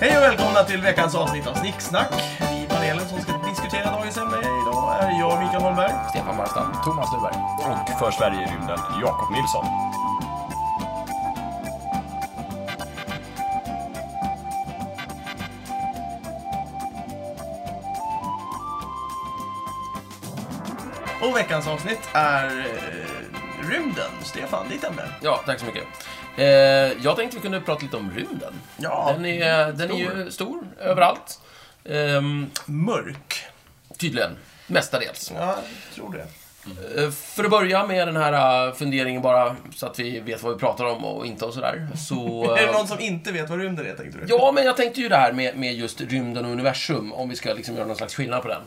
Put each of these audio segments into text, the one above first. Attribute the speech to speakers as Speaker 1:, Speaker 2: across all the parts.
Speaker 1: Hej och välkomna till veckans avsnitt av Snicksnack. Vi i panelen som ska diskutera dagens ämne idag är jag, Mikael Holmberg.
Speaker 2: Stefan Barstam, Thomas Luberg.
Speaker 3: Och för Sverige i rymden, Jakob Nilsson.
Speaker 1: Och veckans avsnitt är eh, rymden. Stefan, ditt ämne.
Speaker 2: Ja, tack så mycket. Eh, jag tänkte vi kunde prata lite om rymden.
Speaker 1: Ja,
Speaker 2: den är, den är ju stor överallt. Ehm,
Speaker 1: mörk.
Speaker 2: tydligen. Mestadels.
Speaker 1: Ja, jag tror det.
Speaker 2: Eh, För att börja med den här eh, funderingen bara, så att vi vet vad vi pratar om och inte och sådär. Så,
Speaker 1: Är det
Speaker 2: eh,
Speaker 1: någon som inte vet vad rymden är, tänkte du?
Speaker 2: Ja, men jag tänkte ju det här med, med just rymden och universum, om vi ska liksom göra någon slags skillnad på den.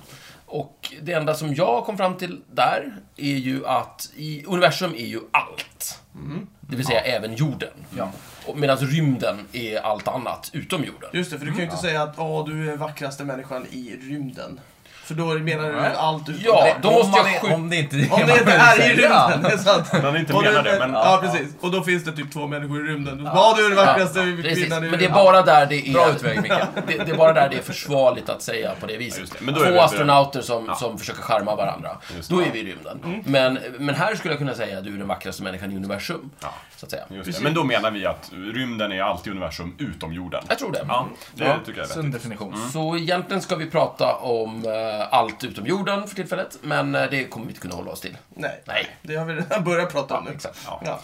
Speaker 2: Och det enda som jag kom fram till där är ju att i, universum är ju allt.
Speaker 3: Mm.
Speaker 2: Det vill säga även jorden. Ja. Medan rymden är allt annat utom jorden.
Speaker 1: Just det, för du kan ju inte säga att Åh, du är vackraste människan i rymden. För då menar du allt utom
Speaker 2: Ja, då
Speaker 1: det.
Speaker 2: måste jag
Speaker 4: det-
Speaker 2: skjuta...
Speaker 4: om det inte är det
Speaker 1: Om det inte är i rymden, det är sant.
Speaker 3: Men inte
Speaker 1: Och
Speaker 3: menar det, men...
Speaker 1: Ja, precis. Och då finns det typ två människor i rymden. Vad du är den vackraste
Speaker 2: Ja, precis.
Speaker 1: kvinnan i
Speaker 2: Men det är
Speaker 1: rymden.
Speaker 2: bara där det är...
Speaker 4: Bra utväg, Mikael.
Speaker 2: det, det är bara där det är försvarligt att säga på det viset.
Speaker 3: just det. Men då är vi-
Speaker 2: Två astronauter som, som försöker charma varandra.
Speaker 3: Just det. Mm.
Speaker 2: Då är vi i rymden. Men, men här skulle jag kunna säga att du är den vackraste människan i universum. Så att säga.
Speaker 3: Just det. Men då menar vi att rymden är allt i universum utom jorden.
Speaker 2: Jag tror det.
Speaker 3: Ja, det
Speaker 2: Ja.
Speaker 3: tycker jag är vettigt.
Speaker 4: Sund definition.
Speaker 2: Mm. Så egentligen ska vi prata om eh, allt utom jorden för tillfället, men eh, det kommer vi inte kunna hålla oss till.
Speaker 1: Nej.
Speaker 2: Nej.
Speaker 1: Det har vi redan börjat prata om nu.
Speaker 2: Exakt.
Speaker 3: Ja.
Speaker 1: Ja.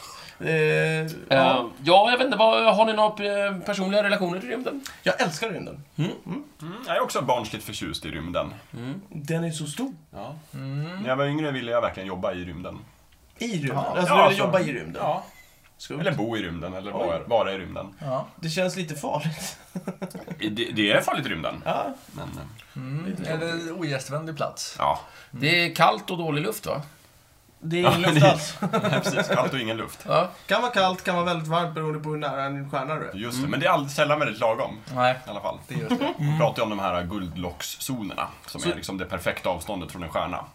Speaker 1: Eh,
Speaker 2: Ja,
Speaker 1: ja.
Speaker 2: ja jag vet inte, vad, har ni några eh, personliga relationer till rymden?
Speaker 1: Jag älskar rymden.
Speaker 3: Mm, Jag är också barnsligt förtjust i rymden. Mm.
Speaker 1: Den är så stor.
Speaker 3: När jag var yngre ville jag verkligen jobba i rymden.
Speaker 1: I rymden. Alltså,
Speaker 3: Ja,
Speaker 1: du vill
Speaker 3: så-
Speaker 1: jobba i rymden.
Speaker 3: Ja.
Speaker 1: Skumt.
Speaker 3: Eller bo i rymden, eller vara, vara i rymden.
Speaker 4: Ja.
Speaker 1: Det känns lite farligt.
Speaker 3: Det, det är farligt i rymden.
Speaker 1: Ja.
Speaker 3: Men, eh,
Speaker 4: Eller ogästvänlig plats.
Speaker 3: ja.
Speaker 2: Det är kallt och dålig luft, va?
Speaker 1: Det är ingen
Speaker 3: Ja,
Speaker 1: luft
Speaker 3: det-
Speaker 1: alls.
Speaker 3: Nej, precis. Kallt och ingen luft.
Speaker 2: Ja.
Speaker 1: Kan vara kallt, kan vara väldigt varmt beroende på hur nära en stjärna du är.
Speaker 3: Just det, men det är all- sällan väldigt lagom.
Speaker 4: Nej.
Speaker 3: I alla fall.
Speaker 4: Det är just det.
Speaker 3: Vi pratar ju om de här guldlockszonerna, som är liksom det perfekta avståndet från en stjärna.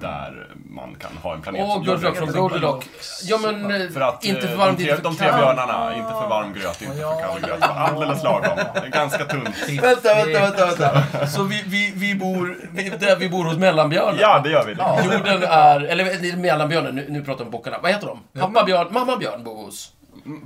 Speaker 3: Där man kan ha en planet
Speaker 2: Och
Speaker 3: som jorden.
Speaker 2: Goldrock från
Speaker 3: till exempel.
Speaker 2: Goldilocks. Ja, men eh,
Speaker 3: För att,
Speaker 2: inte för
Speaker 3: eh,
Speaker 2: varmt,
Speaker 3: de
Speaker 2: inte
Speaker 3: tre,
Speaker 2: för
Speaker 3: de tre
Speaker 2: kallt.
Speaker 3: björnarna, inte för varm gröt, inte för kall gröt. Det var Alldeles lagom. Det är Ganska tunt.
Speaker 1: Vänta, vänta, vänta, vänta.
Speaker 2: Så vi, vi, vi bor, vi, där vi bor hos mellanbjörnen.
Speaker 3: Ja, det gör vi. Det.
Speaker 2: Jorden är, eller eh, mellanbjörnen, nu, nu pratar vi om bockarna. Vad heter de? Pappa björn, mamma björn bor hos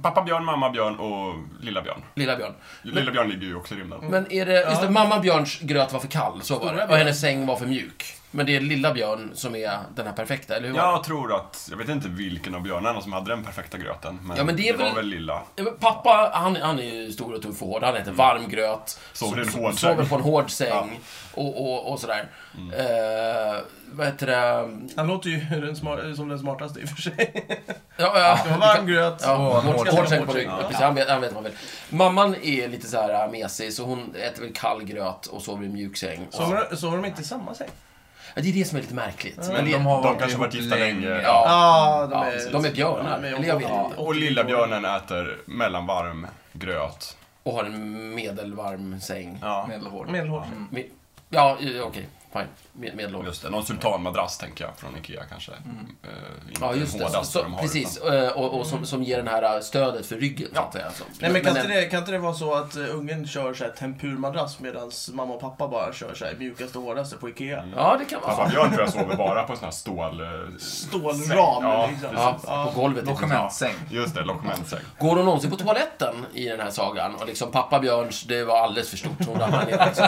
Speaker 3: Pappa björn, mamma björn och lilla björn.
Speaker 2: lilla björn.
Speaker 3: Lilla björn ligger ju också i rymden.
Speaker 2: Men är det, just det, mamma Björns gröt var för kall, så var det. Och hennes säng var för mjuk. Men det är lilla Björn som är den här perfekta, eller hur var det?
Speaker 3: Jag tror att, jag vet inte vilken av björnarna som hade den perfekta gröten. Men,
Speaker 2: Ja, men det
Speaker 3: det,
Speaker 2: är väl-
Speaker 3: var väl lilla.
Speaker 2: Ja, men Pappa, han, han är ju stor och tuff och hård. Han äter varm gröt.
Speaker 3: Sover i en
Speaker 2: so-
Speaker 3: hård
Speaker 2: sover
Speaker 3: säng.
Speaker 2: på en hård säng. Och, och, och sådär. Eh, vad heter det?
Speaker 1: Han låter ju den sma- som den smartaste i och för sig.
Speaker 2: Ja, ja.
Speaker 1: Det var varm gröt.
Speaker 2: Ja, hård, hård,
Speaker 4: hård-
Speaker 2: hård
Speaker 4: hård-
Speaker 2: säng på ryggen. Precis, han vet, han vet vad han vill. Mamman är lite så här äh, mesig, så hon äter väl kall gröt och sover i en mjuk säng. Och,
Speaker 1: Sover de- sover de inte i samma säng?
Speaker 2: ja, det är det som är lite märkligt. Men
Speaker 3: Mm.
Speaker 2: det,
Speaker 3: Men de,
Speaker 4: har
Speaker 3: de
Speaker 4: varit
Speaker 3: kanske varit
Speaker 4: ihop
Speaker 3: gifta länge.
Speaker 4: länge.
Speaker 2: ja,
Speaker 1: Ja, Ah, de
Speaker 2: Ja,
Speaker 1: är...
Speaker 2: de är björnar.
Speaker 1: de är-
Speaker 2: Eller jag vet inte.
Speaker 3: Och lilla björnen äter mellanvarm gröt.
Speaker 2: och har en medelvarm säng.
Speaker 3: Ja,
Speaker 4: Medelhård.
Speaker 1: Medelhårs.
Speaker 2: Me- Ja, eh, okej. Fine. Me- Medelålders.
Speaker 3: just det. Någon sultanmadrass tänker jag från Ikea kanske. Eh,
Speaker 2: Mm.
Speaker 3: inte
Speaker 2: Ja, just
Speaker 3: den
Speaker 2: det. Så,
Speaker 3: hårdaste de
Speaker 2: så,
Speaker 3: har,
Speaker 2: precis.
Speaker 3: utan-
Speaker 2: eh, Och, och som, som ger den här eh, stödet för ryggen, så att säga. Så.
Speaker 1: Nej men kan inte,
Speaker 2: en-
Speaker 1: det, kan inte det vara så att eh, ungen kör så här tempurmadrass medan mamma och pappa bara kör så här mjukast och hårdaste på Ikea?
Speaker 2: Ja, det kan vara.
Speaker 3: Pappa björn tror jag sover bara på en sån här stål... eh, säng.
Speaker 1: Stålram
Speaker 3: Ja,
Speaker 1: liksom.
Speaker 2: Ja, på golvet. är det så.
Speaker 4: Logementssäng.
Speaker 3: just det. Logementssäng.
Speaker 2: Går hon någonsin på toaletten i den här sagan? Och liksom pappa Björns, det var alldeles för stort. så Hon ramlade ner liksom.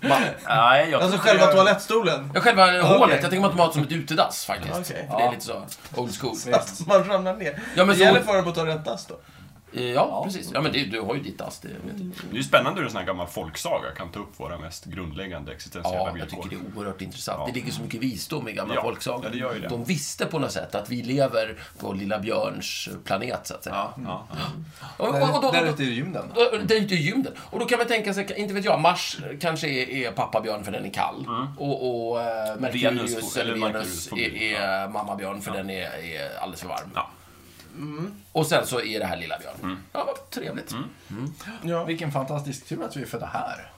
Speaker 4: Nej, jag
Speaker 1: Alltså själva toalettstolen.
Speaker 2: Ja, själva hålet. Jag tänker mig att de har det som ett utedass faktiskt.
Speaker 1: Okej.
Speaker 2: För det är lite så old school.
Speaker 1: Fast man ramlar ner.
Speaker 2: Ja, men
Speaker 1: det
Speaker 2: så-
Speaker 1: gäller för dem att ta rätt dass då.
Speaker 2: Eh, Ja, precis. Ja, men det, du har ju ditt dass. Det vet jag.
Speaker 3: Det är ju spännande hur en sån här gammal folksaga kan ta upp våra mest grundläggande existentiella
Speaker 2: Ja, jag
Speaker 3: villkor.
Speaker 2: tycker det är oerhört intressant.
Speaker 3: Ja.
Speaker 2: Det ligger så mycket visdom i gamla
Speaker 3: Ja,
Speaker 2: folksagor.
Speaker 3: ja, det gör ju det.
Speaker 2: De visste på något sätt att vi lever på lilla björns planet, så att säga.
Speaker 3: Ja, ja, ja.
Speaker 2: Och, och, och,
Speaker 4: Där,
Speaker 2: då,
Speaker 4: där
Speaker 2: då,
Speaker 4: ute i rymden.
Speaker 2: då, det är ju inte i rymden. Och då kan man tänka sig, inte vet jag, Mars kanske är, är pappabjörn för den är kall. Och, och eh, Merkurius
Speaker 3: Mm. Venus,
Speaker 2: eller
Speaker 3: eller
Speaker 2: Venus
Speaker 3: Merkurius,
Speaker 2: är, är mammabjörn för den är, är alldeles för varm.
Speaker 3: Ja. Mm.
Speaker 2: Och sen så är det här lilla björn. Ja, vad trevligt.
Speaker 1: Ja.
Speaker 4: Vilken fantastisk tur att vi är födda här.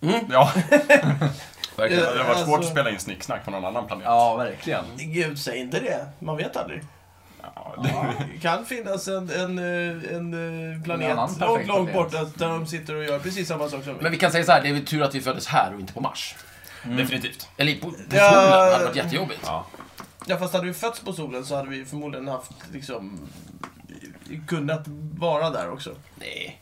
Speaker 3: ja. Det
Speaker 2: Verkligen.
Speaker 3: hade varit svårt
Speaker 1: Alltså-
Speaker 3: att spela in snicksnack på någon annan planet.
Speaker 4: Ja, verkligen.
Speaker 1: Gud, säg inte det. Man vet aldrig.
Speaker 3: Ja, det,
Speaker 1: Det kan finnas en, en, eh, en eh,
Speaker 4: En annan
Speaker 1: planet långt,
Speaker 4: perfekt
Speaker 1: långt
Speaker 4: planet.
Speaker 1: borta där de sitter och gör precis samma sak som vi.
Speaker 2: Men vi kan säga så här, det är väl tur att vi föddes här och inte på Mars. Mm.
Speaker 3: Definitivt.
Speaker 2: Eller på, på solen,
Speaker 1: Ja.
Speaker 2: det hade varit jättejobbigt.
Speaker 3: Ja.
Speaker 1: Ja, fast hade vi fötts på solen så hade vi förmodligen haft liksom kunnat vara där också.
Speaker 2: Nej,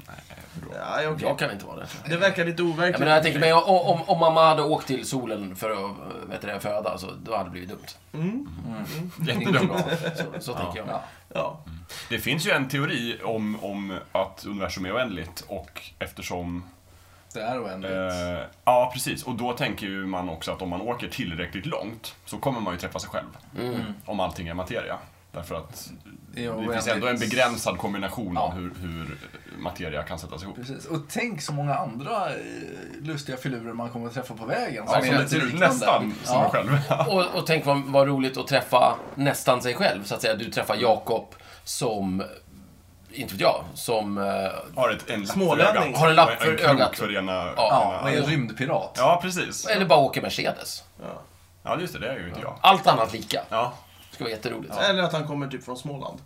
Speaker 1: Ja, okej.
Speaker 2: jag kan inte vara det.
Speaker 1: Det verkar lite
Speaker 2: Jag
Speaker 1: overkligt.
Speaker 2: menar, jag tänker mig, om, om, om mamma hade åkt till solen för att vet du, det, föda, så då hade det blivit dumt.
Speaker 1: Mm.
Speaker 3: Jättedumt.
Speaker 2: Så, så tänker jag.
Speaker 4: Ja.
Speaker 1: Ja.
Speaker 3: Det finns ju en teori om, om att universum är oändligt och eftersom...
Speaker 4: Det är oändligt.
Speaker 3: Eh, ja, precis. Och då tänker ju man också att om man åker tillräckligt långt så kommer man ju träffa sig själv.
Speaker 2: Mm.
Speaker 3: Om allting är materia. Därför att
Speaker 4: Det är
Speaker 3: det finns
Speaker 4: oändligt.
Speaker 3: ändå en begränsad kombination av
Speaker 4: Ja.
Speaker 3: hur, hur materia kan sättas ihop.
Speaker 4: Precis. Och tänk så många andra eh, lustiga filurer man kommer att träffa på vägen.
Speaker 3: Ja,
Speaker 4: är
Speaker 3: som
Speaker 4: lite
Speaker 3: det ser ut
Speaker 4: liknande.
Speaker 3: nästan som
Speaker 4: Ja.
Speaker 3: en själv.
Speaker 2: Och, och tänk vad, vad roligt att träffa nästan sig själv, så att säga. Du träffar Jakob som, inte vet jag, som... eh,
Speaker 3: Har ett, en lapp för
Speaker 1: Smålänning.
Speaker 3: ögat.
Speaker 2: Har en lapp
Speaker 3: Och
Speaker 2: för
Speaker 3: en krok
Speaker 2: ögat.
Speaker 3: för ena...
Speaker 4: Ja,
Speaker 3: ena-
Speaker 4: och är rymdpirat.
Speaker 3: ja, precis.
Speaker 2: Eller bara åker Mercedes.
Speaker 1: Ja.
Speaker 3: Ja, just det. Det är ju inte jag.
Speaker 2: Allt annat lika.
Speaker 3: Ja.
Speaker 2: Det skulle vara jätteroligt. Åh,
Speaker 1: Eller att han kommer typ från Småland.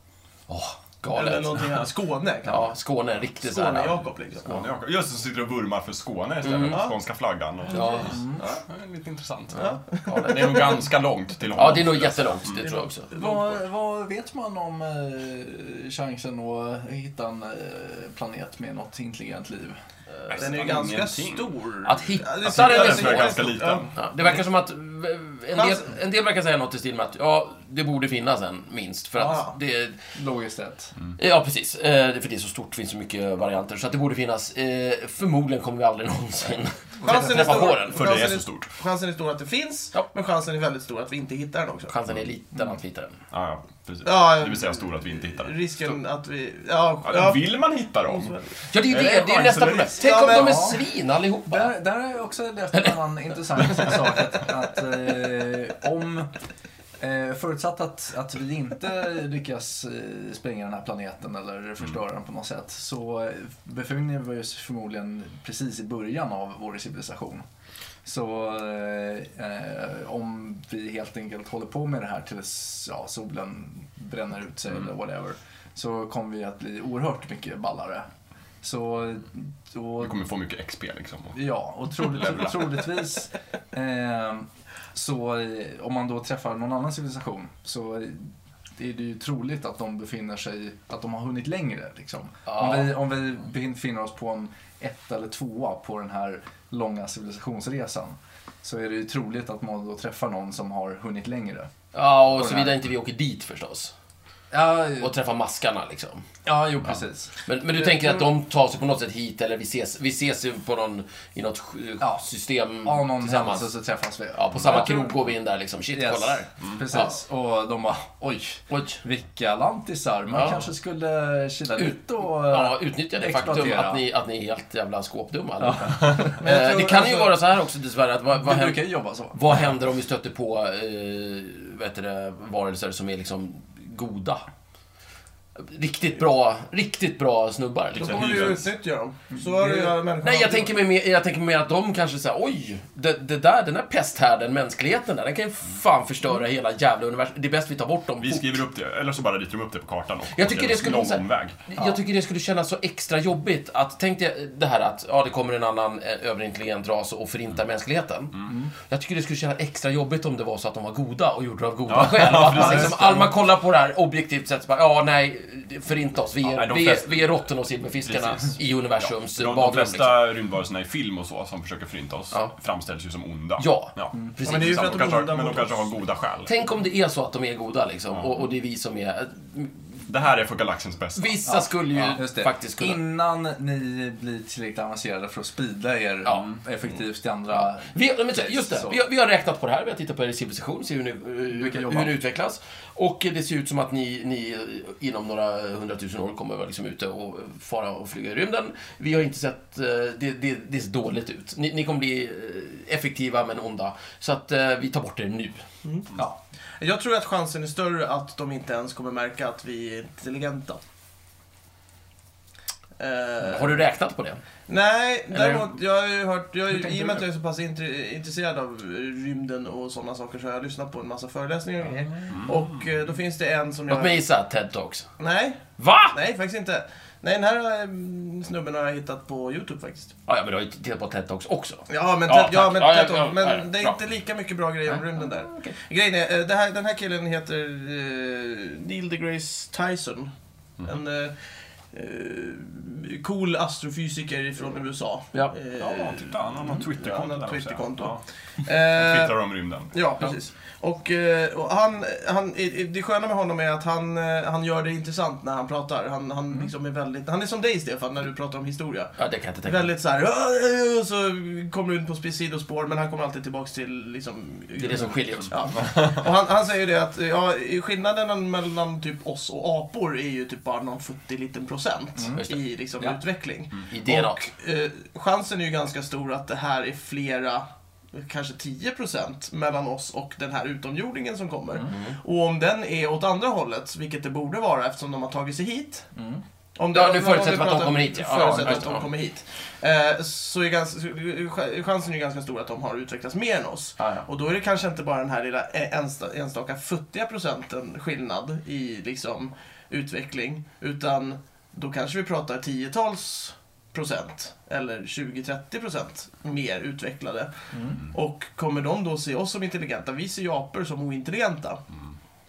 Speaker 1: Eller
Speaker 2: galet.
Speaker 1: någonting här. Skåne kan
Speaker 2: Ja, Skåne är riktigt så här-
Speaker 1: Skåne-Jakob liksom.
Speaker 3: Skåne, Jakob. Just det, som sitter och vurmar för Skåne istället.
Speaker 1: Ja.
Speaker 3: Skånska flaggan. Och...
Speaker 2: Ja,
Speaker 3: Ja, det är lite intressant.
Speaker 1: Ja.
Speaker 2: galet.
Speaker 3: Det är nog ganska långt till honom.
Speaker 2: Ja, det är nog jättelångt, det tror jag också.
Speaker 4: Vad, vad vet man om eh, chansen att hitta en eh, planet med något intelligent liv?
Speaker 1: Den är ju
Speaker 3: Nästan
Speaker 1: ganska
Speaker 3: ingenting.
Speaker 1: stor.
Speaker 2: Att hitta-
Speaker 1: Ja,
Speaker 2: att hitta
Speaker 1: ser
Speaker 2: den
Speaker 1: ut
Speaker 2: tror
Speaker 1: som
Speaker 2: jag
Speaker 1: en
Speaker 2: är
Speaker 3: ganska
Speaker 1: stor-
Speaker 3: liten.
Speaker 1: ja.
Speaker 2: Ja, det verkar som att eh, en del, en del verkar säga något i stil med att ja, det borde finnas en minst. För
Speaker 1: Ja.
Speaker 2: att det,
Speaker 4: Logiskt sett.
Speaker 2: ja, precis. Eh, det- För det är så stort, det finns så mycket varianter. Så att det borde finnas. Eh, Förmodligen kommer vi aldrig någonsin
Speaker 1: Chansen är
Speaker 2: träffa på
Speaker 1: stor.
Speaker 2: den.
Speaker 3: För det är
Speaker 1: Chansen
Speaker 3: så
Speaker 1: är-
Speaker 3: stort.
Speaker 1: Chansen är stor att det finns,
Speaker 2: Ja.
Speaker 1: men chansen är väldigt stor att vi inte hittar den också.
Speaker 2: Chansen är liten att vi hittar den.
Speaker 3: Ja, ja, precis.
Speaker 1: Ja,
Speaker 3: det vill säga stor att vi inte hittar den.
Speaker 1: Risken att vi... Ja,
Speaker 3: Ja,
Speaker 1: ja.
Speaker 3: vill man hitta dem?
Speaker 2: Ja, det är ju
Speaker 3: Eller
Speaker 2: det. Det är ju
Speaker 3: chansen
Speaker 2: nästa
Speaker 3: är
Speaker 2: problem.
Speaker 3: risk.
Speaker 2: Tänk
Speaker 1: Ja,
Speaker 2: om
Speaker 1: men-
Speaker 2: de är
Speaker 4: ja.
Speaker 2: svin allihopa.
Speaker 4: Där, där har jag också läst en annan intressant sak. Att, att eh, om... Eh, förutsatt att, att vi inte lyckas eh, spränga den här planeten eller förstöra den på något sätt så eh, befinner vi oss förmodligen precis i början av vår civilisation. Så eh, eh, om vi helt enkelt håller på med det här tills ja, solen bränner ut sig eller whatever så kommer vi att bli oerhört mycket ballare. Så då
Speaker 3: Vi kommer få mycket XP liksom. Och-
Speaker 4: Ja, och troligt, troligtvis eh, så eh, om man då träffar någon annan civilisation så eh, är det ju troligt att de befinner sig, att de har hunnit längre. Liksom.
Speaker 2: Ja.
Speaker 4: Om, vi, om vi befinner oss på en ett eller tvåa på den här långa civilisationsresan så är det ju troligt att man då träffar någon som har hunnit längre.
Speaker 2: Ja, och såvida inte vi åker dit förstås.
Speaker 4: Ja,
Speaker 2: Och träffar maskarna liksom.
Speaker 4: ja jo precis.
Speaker 2: Men, men du tänker att de tar sig på något sätt hit eller vi ses, vi ses ju på någon, i något sk-
Speaker 4: Ja.
Speaker 2: system
Speaker 4: Av någon
Speaker 2: tillsammans.
Speaker 4: händelse så träffas vi.
Speaker 2: Ja, på samma krog går vi in där liksom. Shit,
Speaker 4: Yes,
Speaker 2: kolla där.
Speaker 4: Precis, och de bara oj.
Speaker 2: Oj.
Speaker 4: Vilka lantisar! Man
Speaker 2: Ja.
Speaker 4: kanske skulle kila ut och... eh,
Speaker 2: Ja, utnyttja det faktum
Speaker 4: Exploatera.
Speaker 2: att ni, att ni är helt jävla skåpdumma. allihopa.
Speaker 1: Men jag
Speaker 2: Eh,
Speaker 1: tror
Speaker 2: Det kan ju
Speaker 1: alltså-
Speaker 2: vara så här också dessvärre att vad,
Speaker 4: Vi
Speaker 2: vad,
Speaker 4: brukar
Speaker 2: händer,
Speaker 4: ju jobba så.
Speaker 2: vad händer om vi stöter på eh, vet du det, varelser som är liksom goda? Riktigt bra, riktigt bra snubbar.
Speaker 1: Då
Speaker 2: Liksom.
Speaker 1: kommer vi ju
Speaker 3: Hyvens.
Speaker 1: utnyttja dem. Så har det ju alla människor
Speaker 2: Mm. Nej, jag
Speaker 1: alltid
Speaker 2: tänker, mig mer, jag tänker mig mer att de kanske säger oj, det, det där, den där pesthärden, mänskligheten där, den kan ju fan förstöra hela jävla universum. Det är bäst vi tar bort dem
Speaker 3: Vi
Speaker 2: fort.
Speaker 3: skriver upp det, eller så bara ritar de upp det på kartan och
Speaker 2: Jag tycker
Speaker 3: och
Speaker 2: det skulle
Speaker 3: lång
Speaker 2: vara så här-
Speaker 3: omväg.
Speaker 2: Jag tycker det skulle kännas så extra jobbigt att, tänk dig det här att, ja det kommer en annan eh, överintelligent ras och förintar
Speaker 3: Mm.
Speaker 2: mänskligheten. Jag tycker det skulle kännas extra jobbigt om det var så att de var goda och gjorde det av goda skäl. Och att man liksom, all man kollar på det här objektivt sett så bara, ja nej, förinta oss. Vi är,
Speaker 3: nej, de
Speaker 2: vi är,
Speaker 3: flesta-
Speaker 2: vi är råttorna och silverfiskarna
Speaker 3: Precis.
Speaker 2: i universums
Speaker 3: De, de
Speaker 2: badrum. liksom.
Speaker 3: flesta rymdvarelserna i film och så som försöker förinta oss
Speaker 2: Ja.
Speaker 3: framställs ju som onda. Liksom,
Speaker 2: Ja. mm,
Speaker 1: Ja, men det är ju för att
Speaker 3: de
Speaker 1: de är
Speaker 3: kanske, har-
Speaker 1: onda
Speaker 3: men de
Speaker 1: mot
Speaker 3: kanske
Speaker 1: oss.
Speaker 3: har goda skäl.
Speaker 2: Tänk om det är så att de är goda liksom, och, och det är vi som är...
Speaker 3: Det här är för galaxens bästa.
Speaker 2: Vissa skulle ju
Speaker 4: Ja, just det.
Speaker 2: faktiskt kunna...
Speaker 4: Innan ni blir tillräckligt avancerade för att sprida er
Speaker 2: Ja.
Speaker 4: effektivt till andra...
Speaker 2: Vi, men, så- just det,
Speaker 4: Så.
Speaker 2: vi har, vi har räknat på det här, vi har tittat på er civilisation, ser hur, ni, eh,
Speaker 4: Vilka
Speaker 2: hur,
Speaker 4: jobbar.
Speaker 2: hur det utvecklas. Och eh, det ser ut som att ni, ni eh, inom några hundratusen år kommer att vara liksom ute och fara och flyga i rymden. Vi har inte sett, eh, det, det, det ser dåligt ut. Ni, ni kommer bli eh, effektiva men onda. Så att eh, vi tar bort er nu.
Speaker 4: Ja.
Speaker 1: Jag tror att chansen är större att de inte ens kommer märka att vi är intelligenta. Eh,
Speaker 2: Har du räknat på det?
Speaker 1: Nej,
Speaker 2: Eller-
Speaker 1: däremot, jag har ju hört, jag, har
Speaker 4: Hur
Speaker 1: ju-
Speaker 4: tänkte
Speaker 1: i och med
Speaker 4: du?
Speaker 1: att jag är så pass intre- intresserad av rymden och sådana saker så har jag lyssnat på en massa föreläsningar och grejer. Och eh, då finns det en som jag...
Speaker 2: Låt Mm. mig gissa, TED Talks.
Speaker 1: Nej,
Speaker 2: Va?
Speaker 1: nej faktiskt inte. Nej, den här eh, snubben har jag hittat på YouTube faktiskt.
Speaker 2: Ja, ja, men du har ju tittat på TED Talks också.
Speaker 1: Ja, men,
Speaker 2: Ja,
Speaker 1: ja, ja,
Speaker 2: tack.
Speaker 1: men,
Speaker 2: Ja, ja,
Speaker 1: Ted Talk,
Speaker 2: ja,
Speaker 1: men
Speaker 2: ja,
Speaker 1: det är
Speaker 2: bra.
Speaker 1: inte lika mycket bra grejer om
Speaker 2: Nej,
Speaker 1: rymden där.
Speaker 2: okej.
Speaker 1: Grejen är, eh, det här, den här killen heter eh, Neil deGrace Tyson.
Speaker 2: Mm.
Speaker 1: En eh, eh, cool astrofysiker från USA.
Speaker 2: Mm. Ja.
Speaker 1: Eh,
Speaker 3: Ja, titta. Han har något Twitterkonto
Speaker 1: Han har ett
Speaker 3: där också.
Speaker 1: Mm. Twitterkonto.
Speaker 3: Ja.
Speaker 1: eh,
Speaker 3: Twittrar om rymden.
Speaker 1: Ja, precis. Och, eh, och han, han, i- i- det sköna med honom är att han, eh, han gör det intressant när han pratar. Han, han,
Speaker 2: Mm.
Speaker 1: liksom är, väldigt, han är som dig Stefan när du pratar om historia.
Speaker 2: Ja, det kan jag inte tänka mig.
Speaker 1: Väldigt så här, "Åh, eh", och så kommer du in på spe- sidospår men han kommer alltid tillbaks till liksom...
Speaker 2: Det är det som skiljer oss.
Speaker 1: Ja. Och han, han säger det att ja, skillnaden mellan typ oss och apor är ju typ bara någon futtig liten procent
Speaker 2: Mm. Just det.
Speaker 1: i liksom
Speaker 2: Ja.
Speaker 1: utveckling.
Speaker 2: I DNA.
Speaker 1: Och eh, chansen är ju ganska stor att det här är flera, kanske 10% mellan oss och den här utomjordingen som kommer.
Speaker 2: Mm.
Speaker 1: Och om den är åt andra hållet, vilket det borde vara eftersom de har tagit sig hit. Om
Speaker 2: Mm. Ja, nu
Speaker 1: om- om
Speaker 2: förutsätter
Speaker 1: vi
Speaker 2: vi att de
Speaker 1: pratar-
Speaker 2: kommer hit, ja. Ja,
Speaker 1: Förutsätter
Speaker 2: just
Speaker 1: att
Speaker 2: det,
Speaker 1: de
Speaker 2: ja.
Speaker 1: kommer hit. Eh, så är ganska, ch- chansen är ju ganska stor att de har utvecklats mer än oss.
Speaker 4: Ja, ja.
Speaker 1: Och då är det kanske inte bara den här lilla eh, ensta, enstaka futtiga procenten skillnad i liksom utveckling. Utan då kanske vi pratar tiotals procent eller 20-30 procent mer utvecklade.
Speaker 2: Mm.
Speaker 1: Och kommer de då se oss som intelligenta? Vi ser ju apor som ointelligenta.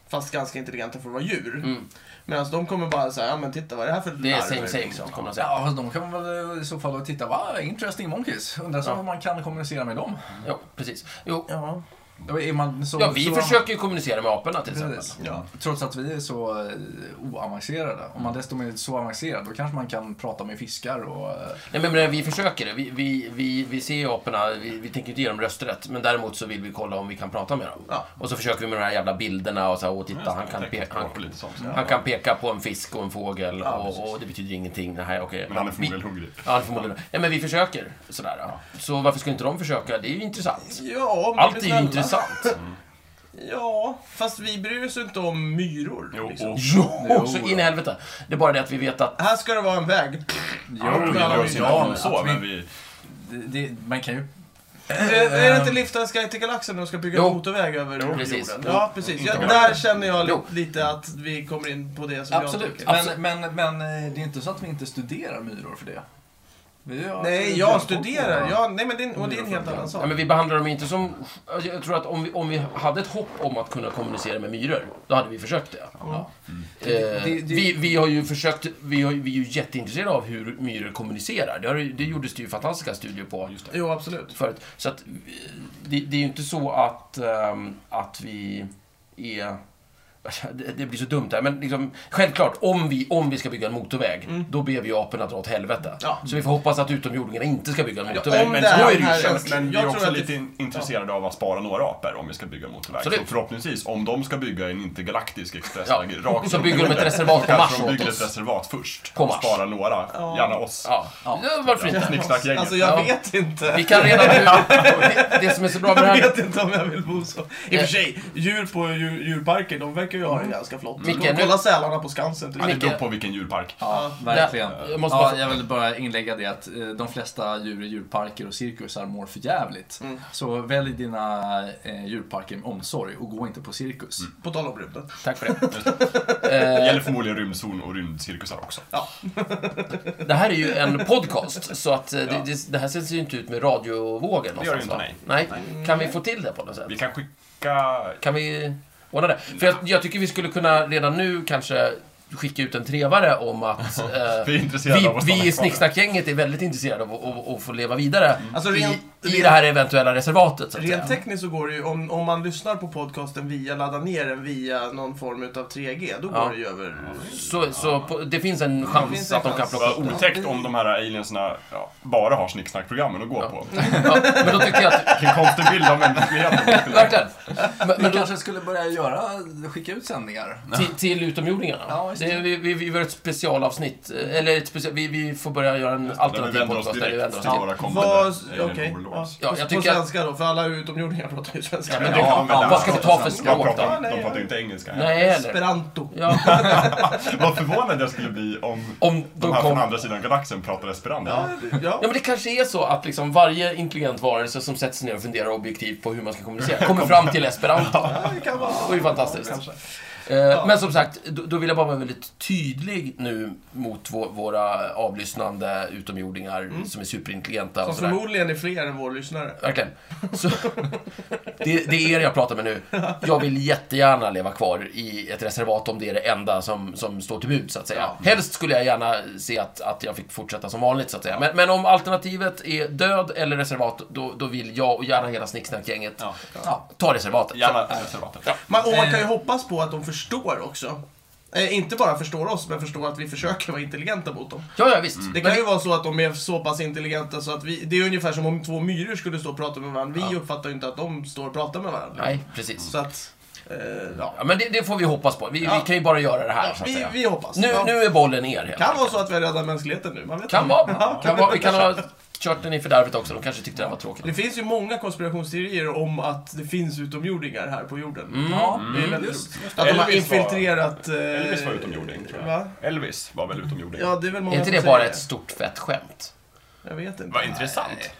Speaker 1: Fast ganska intelligenta för att vara djur.
Speaker 2: Mm.
Speaker 1: Medan de kommer bara säga, ja men titta vad är det här för
Speaker 2: Det är
Speaker 1: larver?"
Speaker 2: same same,
Speaker 1: Liksom.
Speaker 2: kommer de säga.
Speaker 4: Ja, fast de kan man väl i så fall titta, va, interesting monkeys. Undrar så
Speaker 2: Ja.
Speaker 4: hur man kan kommunicera med dem.
Speaker 2: Jo, precis. Jo.
Speaker 1: Ja.
Speaker 4: Då är man så,
Speaker 2: Ja, vi
Speaker 4: så,
Speaker 2: försöker ju kommunicera med aporna till exempel.
Speaker 4: Precis.
Speaker 1: Ja.
Speaker 4: Trots att vi är så eh, oavancerade. Om man dessutom är så avancerad, då kanske man kan prata med fiskar och... eh,
Speaker 2: Nej, men, men vi försöker det. Vi, vi, vi, vi ser ju aporna, vi, vi tänker inte ge dem rösträtt, men däremot så vill vi kolla om vi kan prata med dem.
Speaker 1: Ja.
Speaker 2: Och så försöker vi med de här jävla bilderna och så här, åh titta, han kan, pe- han,
Speaker 3: han, lite sånt.
Speaker 2: han kan peka på en fisk och en fågel och,
Speaker 4: precis.
Speaker 2: och det betyder ingenting. Nej, okej.
Speaker 3: Men han är
Speaker 2: Vi-
Speaker 3: förmodligen hungrig.
Speaker 2: Ja, han är förmodligen. Nej, men vi försöker. Sådär. ja. Så varför skulle inte de försöka? Det är ju intressant.
Speaker 1: Ja, om vi
Speaker 2: Allt
Speaker 1: blir
Speaker 2: är ju
Speaker 1: snälla.
Speaker 2: intressant.
Speaker 1: Ja, fast vi bryr oss inte om myror.
Speaker 3: Jo,
Speaker 1: liksom.
Speaker 3: och
Speaker 2: Jo, så
Speaker 4: Jo,
Speaker 2: in i
Speaker 4: ja.
Speaker 2: helvete. Det är bara det att vi vet att
Speaker 1: Här ska det vara en väg.
Speaker 3: han
Speaker 1: men
Speaker 3: gillar
Speaker 1: alla
Speaker 3: oss
Speaker 1: vill
Speaker 3: inte
Speaker 1: ha
Speaker 3: om
Speaker 1: det.
Speaker 3: så, men vi...
Speaker 4: Det, det, man kan ju...
Speaker 1: Eh, är det inte Liftarens guide till galaxen när de ska bygga
Speaker 2: Jo.
Speaker 1: en motorväg över
Speaker 2: precis.
Speaker 1: jorden? Ja, precis. Ja,
Speaker 3: Inte
Speaker 1: där känner jag li-
Speaker 2: Jo.
Speaker 1: lite att vi kommer in på det som jag
Speaker 4: Absolut.
Speaker 1: tycker.
Speaker 2: Absolut.
Speaker 4: Men, men, men eh, det är inte så att vi inte studerar myror för det. Vi har-
Speaker 1: Nej,
Speaker 4: vi
Speaker 1: jag
Speaker 4: har koll på
Speaker 1: studerar.
Speaker 4: det.
Speaker 1: Ja, nej, men det, är- och det är en helt annan sak.
Speaker 2: Ja, men vi behandlar dem inte som... alltså, Jag tror att om vi, om vi hade ett hopp om att kunna kommunicera med myror, då hade vi försökt det.
Speaker 4: Ja.
Speaker 2: Eh,
Speaker 4: det- det-
Speaker 2: vi, vi har ju försökt... Vi, har, ju- vi är ju jätteintresserade av hur myror kommunicerar. Det, har, ju- det gjordes det ju fantastiska studier på. Just
Speaker 1: Jo, absolut.
Speaker 2: Förut. Så att, eh, det, det är ju inte så att, ehm, att vi är... Det det blir så dumt där, men liksom, självklart, om vi, om vi ska bygga en motorväg, då ber vi ju aporna dra åt helvete.
Speaker 1: Ja.
Speaker 2: Så vi får hoppas att utomjordingarna inte ska bygga en motorväg.
Speaker 1: om
Speaker 3: Men,
Speaker 1: det
Speaker 3: så
Speaker 1: är
Speaker 3: är
Speaker 1: den
Speaker 3: det
Speaker 1: här
Speaker 3: ju känt,
Speaker 1: önskan.
Speaker 3: men vi
Speaker 1: Jag
Speaker 3: är
Speaker 1: tror
Speaker 3: också
Speaker 1: att det-
Speaker 3: lite in- intresserade av att spara några apor om vi ska bygga en motorväg.
Speaker 2: Absolut.
Speaker 3: Så förhoppningsvis, om de ska bygga en intergalaktisk
Speaker 2: Ja,
Speaker 3: expressväg rakt
Speaker 2: så
Speaker 3: upp i
Speaker 2: bygger de ett
Speaker 3: rymden,
Speaker 2: reservat på
Speaker 3: så
Speaker 2: Mars
Speaker 3: kanske de
Speaker 2: åt
Speaker 3: bygger
Speaker 2: oss.
Speaker 3: ett reservat först.
Speaker 2: På
Speaker 3: och
Speaker 2: Mars.
Speaker 3: sparar några,
Speaker 1: Ja.
Speaker 3: gärna oss.
Speaker 2: Ja, ja. varför inte?
Speaker 3: Snicksnackgänget.
Speaker 1: Alltså, jag
Speaker 2: Ja.
Speaker 1: vet inte.
Speaker 2: Vi kan redan nu... Det, det som är så bra med det
Speaker 1: Jag
Speaker 2: här...
Speaker 1: vet inte om jag vill bo så. I
Speaker 2: Eh.
Speaker 1: och för sig, djur på djur, djurparker, de verkar ju ha en ganska flott.
Speaker 2: Mm. Micke,
Speaker 1: Kolla
Speaker 2: nu-
Speaker 1: sälarna på Skansen. typ. till
Speaker 3: Ja, det
Speaker 1: exempel.
Speaker 3: beror på vilken djurpark.
Speaker 4: Ja, verkligen.
Speaker 2: Ja,
Speaker 4: Ja,
Speaker 2: jag
Speaker 4: jag,
Speaker 2: måste bara-
Speaker 4: vill bara inlägga det att eh, de flesta djur i djurparker och cirkusar mår för jävligt. Så välj dina eh, djurparker med omsorg och gå inte på cirkus.
Speaker 1: På tal om rymden.
Speaker 2: Tack för det. Eh,
Speaker 3: Det gäller förmodligen rymdzon och rymdcirkusar också.
Speaker 2: Det här är ju en podcast, så att eh, det, det, det här ser ju inte ut med radiovågen
Speaker 3: Det gör det
Speaker 2: någonstans,
Speaker 3: inte,
Speaker 2: va? nej. Kan vi få till det på något sätt?
Speaker 3: Vi kan skicka...
Speaker 2: Kan vi ordna det? För jag, jag tycker vi skulle kunna redan nu kanske skicka ut en trevare om att eh,
Speaker 3: Vi är intresserade
Speaker 2: vi,
Speaker 3: av att stanna
Speaker 2: vi i
Speaker 3: kvar.
Speaker 2: Snicksnackgänget är väldigt intresserade av att, att, att få leva vidare
Speaker 1: Alltså,
Speaker 2: i,
Speaker 1: rent-
Speaker 2: i det här eventuella reservatet. Så att
Speaker 1: Rent
Speaker 2: säga.
Speaker 1: tekniskt så går det ju, om, om man lyssnar på podcasten via, ladda ner den via någon form av 3G, då
Speaker 2: Ja.
Speaker 1: går det ju över...
Speaker 2: Så, så på, det finns en chans
Speaker 1: finns en
Speaker 2: att de kan
Speaker 1: chans.
Speaker 2: plocka
Speaker 3: Vad
Speaker 2: upp det.
Speaker 3: otäckt om de här aliensarna ja, bara har snicksnackprogrammen att gå på.
Speaker 2: Ja, men då tycker jag att...
Speaker 3: Vilken konstig bild av mänskligheten. de skulle ha.
Speaker 2: Verkligen! Men,
Speaker 4: Vi
Speaker 2: men då,
Speaker 4: kanske skulle börja göra, skicka ut sändningar.
Speaker 2: till, till utomjordingarna?
Speaker 4: Ja, just
Speaker 2: Det, vi, vi, vi gör ett specialavsnitt. eh, Eller ett special, vi, vi får börja göra en
Speaker 3: Där vi
Speaker 2: alternativ
Speaker 3: vänder oss
Speaker 2: podcast där vi
Speaker 3: direkt
Speaker 2: vänder oss
Speaker 3: till
Speaker 2: till.
Speaker 3: våra kommande
Speaker 1: Vad...
Speaker 3: Alien
Speaker 1: Okej.
Speaker 3: Overlords.
Speaker 2: Ja,
Speaker 1: Ja.
Speaker 2: jag
Speaker 1: På, på
Speaker 2: tycker att-
Speaker 1: svenska då, för alla utomjordingar pratar ju svenska.
Speaker 2: men
Speaker 1: Men
Speaker 2: det- ja,
Speaker 3: men
Speaker 2: vad ska vi ta för
Speaker 3: de
Speaker 2: språk då?
Speaker 3: pratar-
Speaker 1: Nej,
Speaker 3: De pratar
Speaker 1: ja.
Speaker 3: ju inte engelska.
Speaker 2: Nej, heller.
Speaker 1: Esperanto.
Speaker 2: Ja,
Speaker 3: Vad förvånad jag skulle bli om
Speaker 2: om
Speaker 3: de
Speaker 2: de
Speaker 3: här från
Speaker 2: kom...
Speaker 3: andra sidan galaxen pratar esperanto.
Speaker 1: Ja, ja.
Speaker 2: Ja, men det kanske är så att liksom varje intelligent varelse som sätter sig ner och funderar objektivt på hur man ska kommunicera kommer fram till esperanto.
Speaker 1: ja, det kan vara
Speaker 2: Det var ju fantastiskt.
Speaker 1: Kanske.
Speaker 2: Eh, Men som sagt, då, då vill jag bara vara väldigt tydlig nu mot vå- våra avlyssnande utomjordingar som är superintelligenta
Speaker 1: Mm. Som
Speaker 2: och sådär.
Speaker 1: förmodligen är fler än vår lyssnare.
Speaker 2: Verkligen. Så, det, det är er jag pratar med nu. Jag vill jättegärna leva kvar i ett reservat om det är det enda som, som står till bud, så att säga. Helst skulle jag gärna se att, att jag fick fortsätta som vanligt, så att säga. Men, men om alternativet är död eller reservat, då, då vill jag och gärna hela snicksnackgänget
Speaker 3: Ja.
Speaker 2: ja, ta reservatet.
Speaker 3: Gärna reservatet.
Speaker 1: Man, och man
Speaker 2: Eh.
Speaker 1: kan ju hoppas på att de förstår också. Eh, inte bara förstår oss, men förstår att vi försöker vara intelligenta mot dem.
Speaker 2: Ja, ja, visst.
Speaker 1: Mm. Det kan ju vara så att de är så pass intelligenta så att vi... Det är ungefär som om två myror skulle stå och prata med varandra. Vi uppfattar ju inte att de står och pratar med varandra.
Speaker 2: Nej, precis.
Speaker 1: Så att... Eh, ja.
Speaker 2: Ja, men det, det får vi hoppas på. Vi,
Speaker 1: Ja.
Speaker 2: vi kan ju bara göra det här, så att
Speaker 1: Vi,
Speaker 2: säga.
Speaker 1: vi hoppas.
Speaker 2: Nu,
Speaker 1: ja.
Speaker 2: nu är bollen er, helt
Speaker 1: Kan
Speaker 2: enkelt.
Speaker 1: vara så att vi har räddat mänskligheten nu. Man vet
Speaker 2: Kan
Speaker 1: inte.
Speaker 2: vara. Kan vara. Vi kan ha kört den i fördärvet också. De kanske tyckte det här var tråkigt.
Speaker 1: Det finns ju många konspirationsteorier om att det finns utomjordingar här på jorden.
Speaker 2: Mm.
Speaker 4: Ja,
Speaker 1: Det är väldigt
Speaker 4: Mm. just.
Speaker 1: roligt. Att de har
Speaker 3: Elvis var-
Speaker 1: infiltrerat... eh,
Speaker 3: Elvis var utomjording, tror jag.
Speaker 1: Va?
Speaker 3: Elvis var väl utomjording?
Speaker 1: Ja, det är väl många
Speaker 2: Är inte
Speaker 1: som
Speaker 2: det
Speaker 1: säger
Speaker 2: bara ett stort fett skämt?
Speaker 1: Jag vet inte.
Speaker 3: Vad intressant.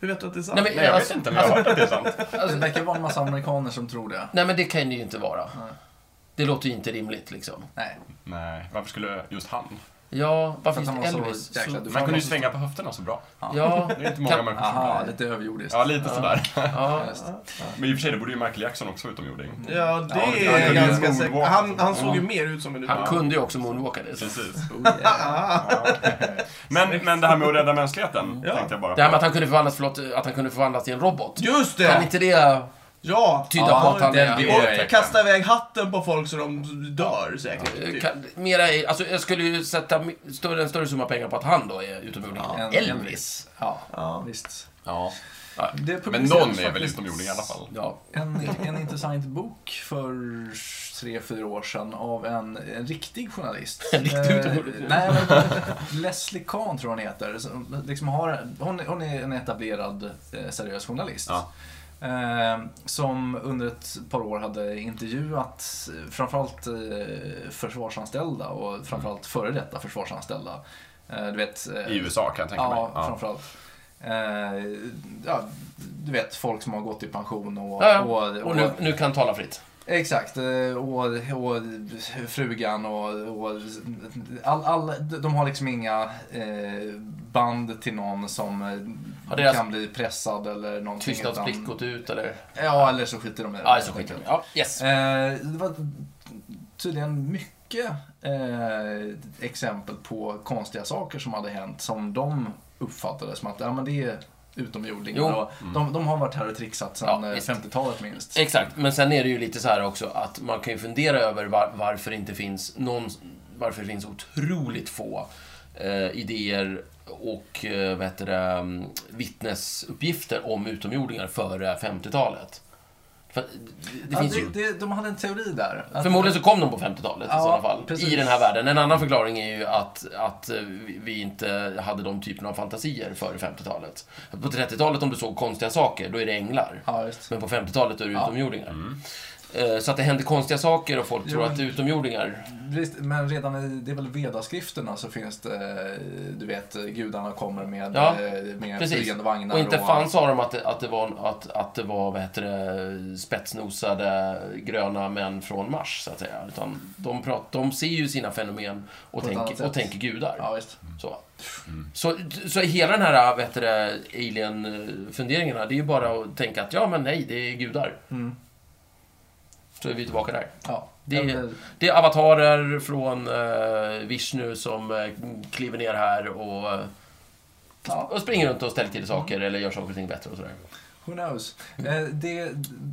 Speaker 1: Hur vet du att det är sant?
Speaker 2: Nej men,
Speaker 3: Nej, jag vet
Speaker 2: alltså,
Speaker 3: inte, men jag har hört att det är sant.
Speaker 4: Det verkar vara en massa amerikaner som tror det.
Speaker 2: nej men det kan det ju inte vara.
Speaker 4: Nej.
Speaker 2: Det låter ju inte rimligt liksom.
Speaker 4: Nej.
Speaker 3: Nej, varför skulle just han?
Speaker 2: Ja, varför
Speaker 4: För att han
Speaker 2: just
Speaker 4: var så
Speaker 2: Elvis?
Speaker 4: jäkla
Speaker 2: Så-
Speaker 4: dum.
Speaker 3: Man kunde ju svänga på höfterna så bra.
Speaker 2: Ja,
Speaker 3: Det är inte många
Speaker 2: Kan- Ah,
Speaker 3: människor som
Speaker 4: Aha,
Speaker 3: kan.
Speaker 4: lite överjordiskt.
Speaker 3: Ja, lite sådär.
Speaker 2: ja.
Speaker 4: Just.
Speaker 3: Men i och för sig, det borde ju Michael Jackson också vara utomjording.
Speaker 1: Ja, det
Speaker 4: Ja, det
Speaker 1: är jag
Speaker 4: kan ju
Speaker 1: ganska
Speaker 3: moonwalk.
Speaker 1: säkert. Han, han
Speaker 3: alltså.
Speaker 1: såg ju mer ut som en
Speaker 2: Han
Speaker 1: utomjording.
Speaker 2: kunde ju också moonwalka det. så-
Speaker 3: Precis.
Speaker 4: Oh, yeah.
Speaker 3: Men, men det här med att rädda mänskligheten,
Speaker 1: Ja.
Speaker 3: tänkte jag bara
Speaker 2: Det här med att
Speaker 3: på.
Speaker 2: han kunde förvandlas, förlåt, att han kunde förvandlas till en robot.
Speaker 1: Just
Speaker 2: Kan
Speaker 1: det!
Speaker 2: inte det
Speaker 1: Ja!
Speaker 2: tyda
Speaker 4: Ja,
Speaker 2: på att han
Speaker 4: den
Speaker 2: är...
Speaker 4: blir-
Speaker 1: Och kasta iväg hatten på folk så de dör säkert. typ.
Speaker 2: Eh, Kan, mera, i- alltså, jag skulle ju sätta mi- större, en större summa pengar på att han då är utomjording.
Speaker 4: Ja,
Speaker 2: än
Speaker 4: en-
Speaker 2: Elvis.
Speaker 4: Ja,
Speaker 1: Ja.
Speaker 4: visst.
Speaker 3: Ja.
Speaker 4: Det
Speaker 3: Men
Speaker 4: publicerades
Speaker 3: någon är väl
Speaker 4: faktiskt
Speaker 3: utomjording i alla fall?
Speaker 2: Ja.
Speaker 4: En, en intressant bok för tre, fyra år sedan av en, en riktig journalist.
Speaker 2: En riktig
Speaker 4: Eh,
Speaker 2: utomjording.
Speaker 4: Nej, men Leslie Kahn tror jag hon heter. Som liksom har, hon, hon är en etablerad eh, seriös journalist.
Speaker 3: Ja.
Speaker 4: Eh, som under ett par år hade intervjuat eh, framförallt eh, försvarsanställda och framförallt före detta försvarsanställda. Eh, du vet, eh,
Speaker 3: I USA kan jag tänka mig.
Speaker 4: Ja, framförallt. Eh, ja, du vet, folk som har gått i pension och...
Speaker 2: Ja, ja.
Speaker 4: och, och,
Speaker 2: Och nu, nu kan han tala fritt.
Speaker 4: Exakt. eh, Och, och frugan och... och all, all, de har liksom inga eh, band till någon som eh,
Speaker 2: Ja, deras-
Speaker 4: kan bli pressad eller någonting.
Speaker 2: Tystnadsplikt
Speaker 4: utan-
Speaker 2: gått ut eller...
Speaker 4: Ja, eller så skiter de i det.
Speaker 2: Ja, så skiter de i. Ja, yes.
Speaker 4: Eh, det var tydligen mycket eh, exempel på konstiga saker som hade hänt som de uppfattade som att ja, men det är utomjordingar.
Speaker 2: Jo.
Speaker 4: Och De, de har varit här och trixat sedan
Speaker 2: Ja,
Speaker 4: eh,
Speaker 2: visst. Eh,
Speaker 4: 50-talet minst.
Speaker 2: Exakt, men sen är det ju lite så här också att man kan ju fundera över var, varför det inte finns någon, varför det finns otroligt få eh, idéer och eh, vad heter det, mm, vittnesuppgifter om utomjordingar före 50-talet. För, det, det
Speaker 4: Ja,
Speaker 2: finns
Speaker 4: det,
Speaker 2: ju.
Speaker 4: det, de hade en teori där. Att-
Speaker 2: Förmodligen så kom de på 50-talet i
Speaker 4: Ja,
Speaker 2: sådana fall,
Speaker 4: precis.
Speaker 2: i den här världen. En annan förklaring är ju att, att eh, vi- vi inte hade de typerna av fantasier före 50-talet. På 30-talet om du såg konstiga saker, då är det änglar.
Speaker 4: Ja, just.
Speaker 2: Men på 50-talet då är det
Speaker 4: Ja.
Speaker 2: utomjordingar. Eh, Så att det händer konstiga saker och folk
Speaker 4: Jo,
Speaker 2: tror
Speaker 4: men-
Speaker 2: att det är utomjordingar.
Speaker 4: Visst, Men redan i, det är väl vedaskrifterna så finns det, eh, du vet, gudarna kommer med,
Speaker 2: Ja,
Speaker 4: eh, med
Speaker 2: precis.
Speaker 4: flygande vagnar.
Speaker 2: Och inte fan sa de att det, att det var, att, att det var vad heter det, spetsnosade gröna män från Mars, så att säga. Utan de, prat, de ser ju sina fenomen och,
Speaker 4: På ett annat
Speaker 2: tänker,
Speaker 4: sätt.
Speaker 2: och tänker gudar.
Speaker 4: Ja, visst.
Speaker 2: Så.
Speaker 3: Mm.
Speaker 2: Så, så hela den här äh, vad heter det, alien-funderingarna, det är ju bara att tänka att ja, men nej, det är gudar.
Speaker 4: Mm.
Speaker 2: Så är vi tillbaka där.
Speaker 4: Ja.
Speaker 2: Det är-
Speaker 4: Eller-
Speaker 2: Det är avatarer från eh, Vishnu som eh, kliver ner här och, eh,
Speaker 4: ja.
Speaker 2: och springer runt och ställer till saker eller gör saker och ting bättre och sådär.
Speaker 4: Who knows? Eh, det,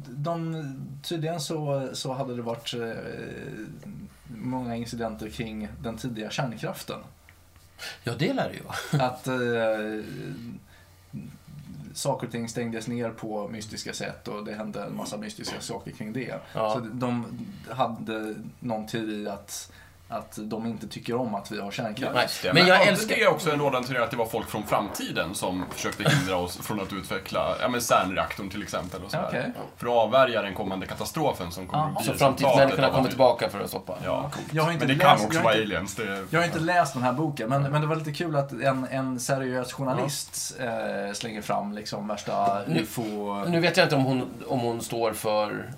Speaker 4: de, tydligen så, så hade det varit eh, många incidenter kring den tidiga kärnkraften.
Speaker 2: Ja, det lär det ju vara.
Speaker 4: Att eh, saker och ting stängdes ner på mystiska sätt och det hände en massa mystiska saker kring det.
Speaker 2: Mm. Ja.
Speaker 4: Så de hade någon teori att, att de inte tycker om att vi har kärnkraft.
Speaker 2: Nej.
Speaker 3: Just det.
Speaker 2: Men
Speaker 3: Men
Speaker 2: jag
Speaker 3: jag
Speaker 2: älskar-
Speaker 3: det är också en rådande teori att det var folk från framtiden som försökte hindra oss från att utveckla ja, men CERN-reaktorn till exempel. Och sådär.
Speaker 4: Okej.
Speaker 3: För att avvärja den kommande katastrofen som kommer
Speaker 4: Ah,
Speaker 3: att bli
Speaker 2: Så
Speaker 3: resultatet
Speaker 2: framtidsmänniskorna
Speaker 3: av att
Speaker 2: kommer
Speaker 3: vi-
Speaker 2: tillbaka för att stoppa.
Speaker 3: Ja.
Speaker 4: Jag har inte
Speaker 3: Men det
Speaker 4: läst-
Speaker 3: kan
Speaker 4: jag
Speaker 3: också
Speaker 4: har
Speaker 3: vara
Speaker 4: inte-
Speaker 3: aliens. Det...
Speaker 4: Jag har inte läst den här boken, men, men det var lite kul att en, en seriös journalist eh, slänger fram liksom värsta
Speaker 2: Nu-
Speaker 4: ufo...
Speaker 2: Nu vet jag inte om hon, om hon står för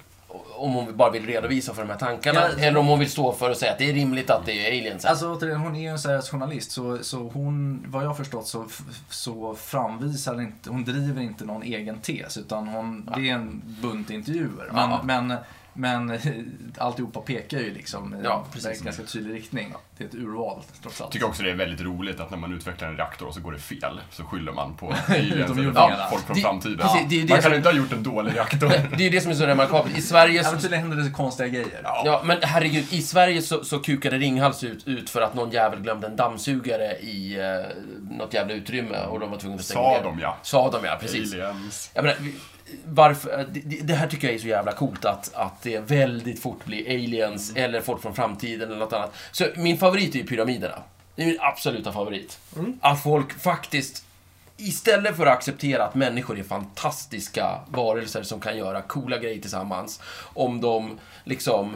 Speaker 2: om hon bara vill redovisa för de här tankarna
Speaker 4: Ja,
Speaker 2: eller om hon vill stå för och säga att det är rimligt att det är aliens. här.
Speaker 4: Alltså återigen, hon är ju en seriös journalist så, så hon, vad jag förstått så, f- så framvisar inte, hon driver inte någon egen tes utan hon, det är en bunt intervjuer. Men,
Speaker 2: Ja.
Speaker 4: men, men alltihopa pekar ju liksom i
Speaker 2: Ja,
Speaker 4: en ganska tydlig riktning. Det är ett urval trots allt.
Speaker 3: Jag tycker också det är väldigt roligt att när man utvecklar en reaktor och så går det fel så skyller man på aliens eller
Speaker 4: Utomjordingarna.
Speaker 3: folk från
Speaker 2: Det-
Speaker 3: framtiden.
Speaker 2: precis, det är ju det
Speaker 3: man kan
Speaker 2: som-
Speaker 3: inte ha gjort en dålig reaktor.
Speaker 2: Det är ju det som är så remarkabelt. I Sverige
Speaker 4: Ja, men
Speaker 2: så,
Speaker 4: Alltså,
Speaker 3: typ-
Speaker 4: tydligen händer det konstiga grejer.
Speaker 2: ja, men herregud, i Sverige så, så kukade Ringhals ut, ut för att någon jävel glömde en dammsugare i eh, något jävla utrymme och de var tvungna att stänga
Speaker 3: Sa
Speaker 2: ner.
Speaker 3: de, ja.
Speaker 2: Sa de ja, precis.
Speaker 3: aliens.
Speaker 2: Jag menar, vi- varför, eh, det- det, det här tycker jag är så jävla coolt att, att det väldigt fort blir aliens
Speaker 3: Mm.
Speaker 2: eller folk från framtiden eller något annat. Så min favorit är ju pyramiderna. Det är min absoluta favorit.
Speaker 3: Mm.
Speaker 2: Att folk faktiskt, istället för att acceptera att människor är fantastiska varelser som kan göra coola grejer tillsammans, om de liksom...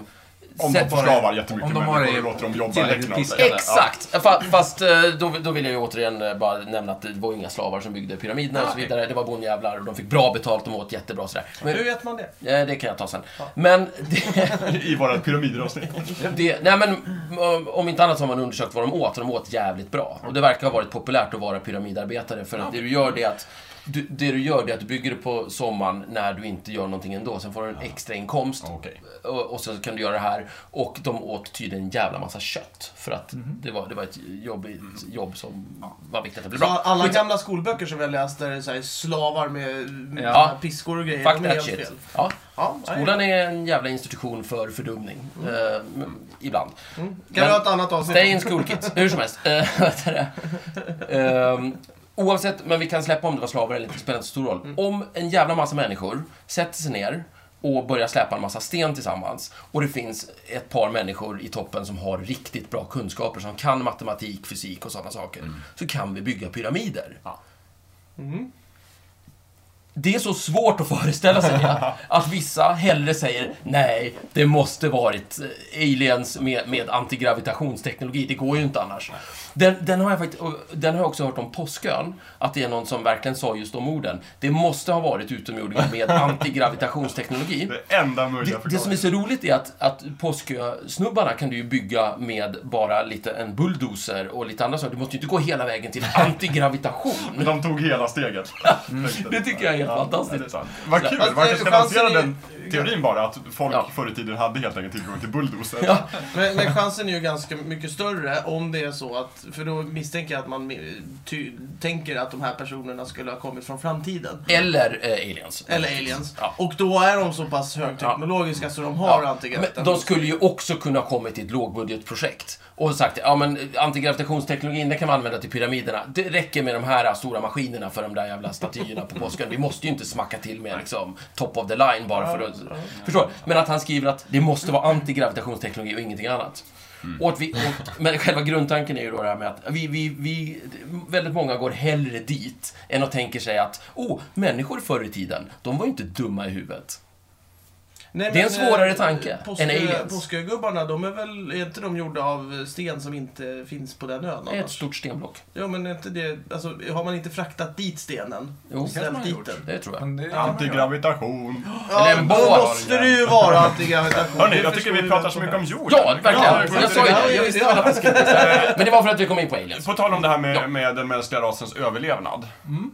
Speaker 3: Om
Speaker 2: sätter-
Speaker 3: de förslavar jättemycket
Speaker 4: om de bara
Speaker 3: människor
Speaker 4: är
Speaker 3: och låter dem jobba
Speaker 4: tillräckligt
Speaker 3: räkna åt sig.
Speaker 4: piskade.
Speaker 2: Exakt! Fa- Fast eh, då, då vill jag ju återigen eh, bara nämna att det var inga slavar som byggde pyramiderna och
Speaker 3: Ah,
Speaker 2: så vidare. Det var bondjävlar och de fick bra betalt, de åt jättebra och sådär. Men,
Speaker 1: Hur vet man det?
Speaker 2: eh, det kan jag ta sen. Men det,
Speaker 3: I våra pyramideravsnitt.
Speaker 2: det, nej men, om- om inte annat så har man undersökt vad de åt, och de åt jävligt bra. Och det verkar ha varit populärt att vara pyramidarbetare, för att det du gör det är att du, det du gör det är att du bygger det på sommaren när du inte gör någonting ändå. Sen får du en extra inkomst
Speaker 3: Okej.
Speaker 2: och, och så kan du göra det här. Och de åt tydligen en jävla massa kött. För att
Speaker 1: Mhm.
Speaker 2: det, var, det var ett jobb, ett jobb som var viktigt att bli
Speaker 1: Så
Speaker 2: bra.
Speaker 1: Mm. Alltså, alla gamla skolböcker som jag läst där det är så här slavar med, med
Speaker 4: Ja.
Speaker 1: såna piskor och grejer,
Speaker 2: Fuck
Speaker 1: de är
Speaker 2: that
Speaker 1: helt
Speaker 2: shit.
Speaker 1: fel.
Speaker 2: Ja.
Speaker 1: Ja,
Speaker 2: Skolan är en jävla institution för fördumning.
Speaker 1: Mm.
Speaker 2: Eh, m- ibland.
Speaker 1: Kan vi ha ett annat avsnitt?
Speaker 2: Stay in school kids. Hur som helst. Eh, vad heter det? Ehm, oavsett, men vi kan släppa om det var slavar eller inte, det spelar inte så stor roll. Om en jävla massa människor sätter sig ner och börjar släpa en massa sten tillsammans och det finns ett par människor i toppen som har riktigt bra kunskaper, som kan matematik, fysik och sådana saker, så kan vi bygga pyramider.
Speaker 3: Ja.
Speaker 2: Det är så svårt att föreställa sig det, att vissa hellre säger nej, det måste varit eh, aliens med, med antigravitationsteknologi, det går ju inte annars. Den, den, har jag faktiskt, och den har jag också hört om Påskön, att det är någon som verkligen sa just de orden. Det måste ha varit utomjordingar med antigravitationsteknologi.
Speaker 3: Det enda möjliga
Speaker 2: Det, det som är så roligt är att, att påsksnubbarna kan du ju bygga med bara lite en bulldozer och lite andra saker. Du måste ju inte gå hela vägen till antigravitation.
Speaker 3: Men de tog hela steget.
Speaker 2: Mm. Det tycker jag är helt
Speaker 3: Ja, det
Speaker 2: fantastiskt. alltså,
Speaker 3: är sant. Vad kul!
Speaker 1: Fast
Speaker 3: Man
Speaker 1: det-
Speaker 3: kanske ska
Speaker 1: chansen
Speaker 3: lansera
Speaker 1: är-
Speaker 3: den teorin bara, att folk
Speaker 2: Ja.
Speaker 3: förr i tiden hade helt enkelt tillgång till bulldozers.
Speaker 2: Ja.
Speaker 1: Men, men chansen är ju ganska mycket större om det är så att, för då misstänker jag att man eh, ty, tänker att de här personerna skulle ha kommit från framtiden.
Speaker 2: Eller eh, aliens.
Speaker 1: Eller aliens.
Speaker 2: Ja.
Speaker 1: Och då är de så pass högteknologiska så de har
Speaker 2: Ja, men
Speaker 1: antigravitation.
Speaker 2: de skulle ju också kunna ha kommit till ett lågbudgetprojekt och sagt ja men antigravitationsteknologin den kan man använda till pyramiderna. Det räcker med de här stora maskinerna för de där jävla statyerna på påsken. Vi måste ju inte smacka till med liksom top of the line bara för att... Förstår? Men att han skriver att det måste vara antigravitationsteknologi och ingenting annat. Och att vi, och, men själva grundtanken är ju då det här med att vi, vi, vi, väldigt många går hellre dit än att tänker sig att, oh, människor förr i tiden, de var ju inte dumma i huvudet.
Speaker 1: Nej,
Speaker 2: det är en
Speaker 1: men,
Speaker 2: svårare
Speaker 1: eh,
Speaker 2: tanke
Speaker 1: påskö-
Speaker 2: än aliens.
Speaker 1: Påskögubbarna, de är väl, är inte de gjorda av sten som inte finns på den ön
Speaker 2: Ett
Speaker 1: annars?
Speaker 2: stort stenblock.
Speaker 1: Jo men är inte det, alltså har man inte fraktat dit stenen?
Speaker 2: Jo,
Speaker 1: och
Speaker 4: kanske man
Speaker 1: ställt
Speaker 4: har
Speaker 1: dit
Speaker 4: gjort.
Speaker 1: den?
Speaker 2: Det tror jag.
Speaker 4: Men det kan man göra.
Speaker 3: Antigravitation.
Speaker 1: Ja,
Speaker 2: Eller en
Speaker 1: då
Speaker 2: båt.
Speaker 1: måste det ju vara antigravitation.
Speaker 3: Hörni,
Speaker 1: Det
Speaker 3: jag tycker
Speaker 1: förstår
Speaker 3: vi
Speaker 1: ju
Speaker 3: pratar
Speaker 1: vem
Speaker 3: så
Speaker 1: som
Speaker 3: mycket om jorden.
Speaker 2: Ja,
Speaker 1: Ja,
Speaker 2: verkligen! Jag sa ju det. Jag visste väl att det skulle bli så här. Men det var för att vi kom in på aliens.
Speaker 3: På tal om det här med,
Speaker 2: Ja. Mm.
Speaker 3: med den mänskliga rasens överlevnad.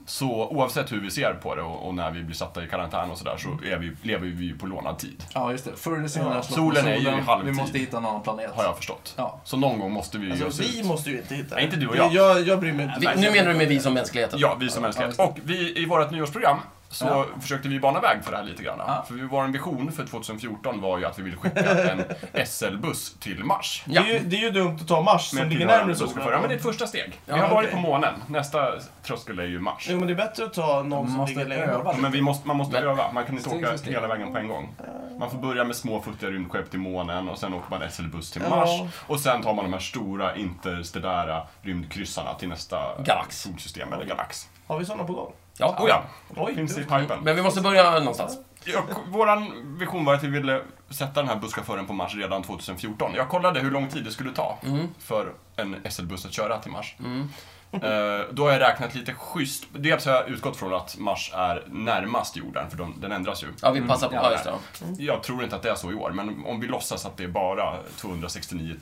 Speaker 3: Så oavsett hur vi ser på det och, och när vi blir satta i karantän och sådär så är vi, lever vi ju på lånad tid.
Speaker 4: Ja, just det. Förr eller senare
Speaker 3: Ja,
Speaker 4: slår
Speaker 3: solen är ju i halvtid.
Speaker 4: Vi måste hitta en annan planet.
Speaker 3: Har jag förstått.
Speaker 4: Ja.
Speaker 3: Så någon gång måste vi ju ge oss
Speaker 1: Alltså, vi
Speaker 3: ut.
Speaker 1: måste ju inte hitta
Speaker 3: Nej, inte du och
Speaker 1: Det är
Speaker 3: jag.
Speaker 1: Jag, jag bryr mig inte.
Speaker 2: Vi, nu menar du med vi som mänskligheten?
Speaker 3: Ja, vi som mänsklighet. Och vi, i vårt nyårsprogram så
Speaker 4: Ja.
Speaker 3: försökte vi bana väg för det här lite grann.
Speaker 4: Ja.
Speaker 3: För vår ambition för 2014 var ju att vi ville skicka en SL-buss till Mars.
Speaker 2: Ja.
Speaker 1: Det, är ju, det är ju dumt att ta Mars som ligger
Speaker 3: tillhörande
Speaker 1: närmare
Speaker 3: busschaufför. Ja, men det
Speaker 1: solen.
Speaker 3: är ett första steg.
Speaker 2: Ja,
Speaker 3: vi har varit på
Speaker 1: okej.
Speaker 3: månen. Nästa tröskel är ju Mars.
Speaker 1: Jo, men det är bättre att ta någon
Speaker 4: Man
Speaker 1: som
Speaker 4: måste
Speaker 1: ligger längre
Speaker 4: öva
Speaker 1: bort.
Speaker 3: Men vi måste, man måste
Speaker 2: Men-
Speaker 3: öva. Man kan inte
Speaker 4: Steg
Speaker 3: åka
Speaker 4: för steg.
Speaker 3: hela vägen på en gång. Man får börja med små futtiga rymdskepp till månen och sen åker man SL-buss till
Speaker 1: Ja.
Speaker 3: Mars. Och sen tar man de här stora interstellära rymdkryssarna till nästa
Speaker 2: Galax.
Speaker 3: solsystem eller galax.
Speaker 1: Har vi sådana på gång?
Speaker 2: Ja.
Speaker 3: Oh ja,
Speaker 1: Oj,
Speaker 3: finns i
Speaker 1: dumt.
Speaker 3: pipen.
Speaker 2: Men vi måste börja någonstans.
Speaker 3: Jag, våran vision var att vi ville sätta den här busschauffören på Mars redan 2014. Jag kollade hur lång tid det skulle ta
Speaker 2: Mm.
Speaker 3: för en SL-buss att köra till Mars. Eh, då har jag räknat lite schysst. Dels har jag utgått från att Mars är närmast jorden, för de, den ändras ju.
Speaker 2: Ja, vi passar på.
Speaker 3: Mm.
Speaker 2: Ja, just det.
Speaker 3: Jag tror inte att det är så i år, men om vi låtsas att det är bara 269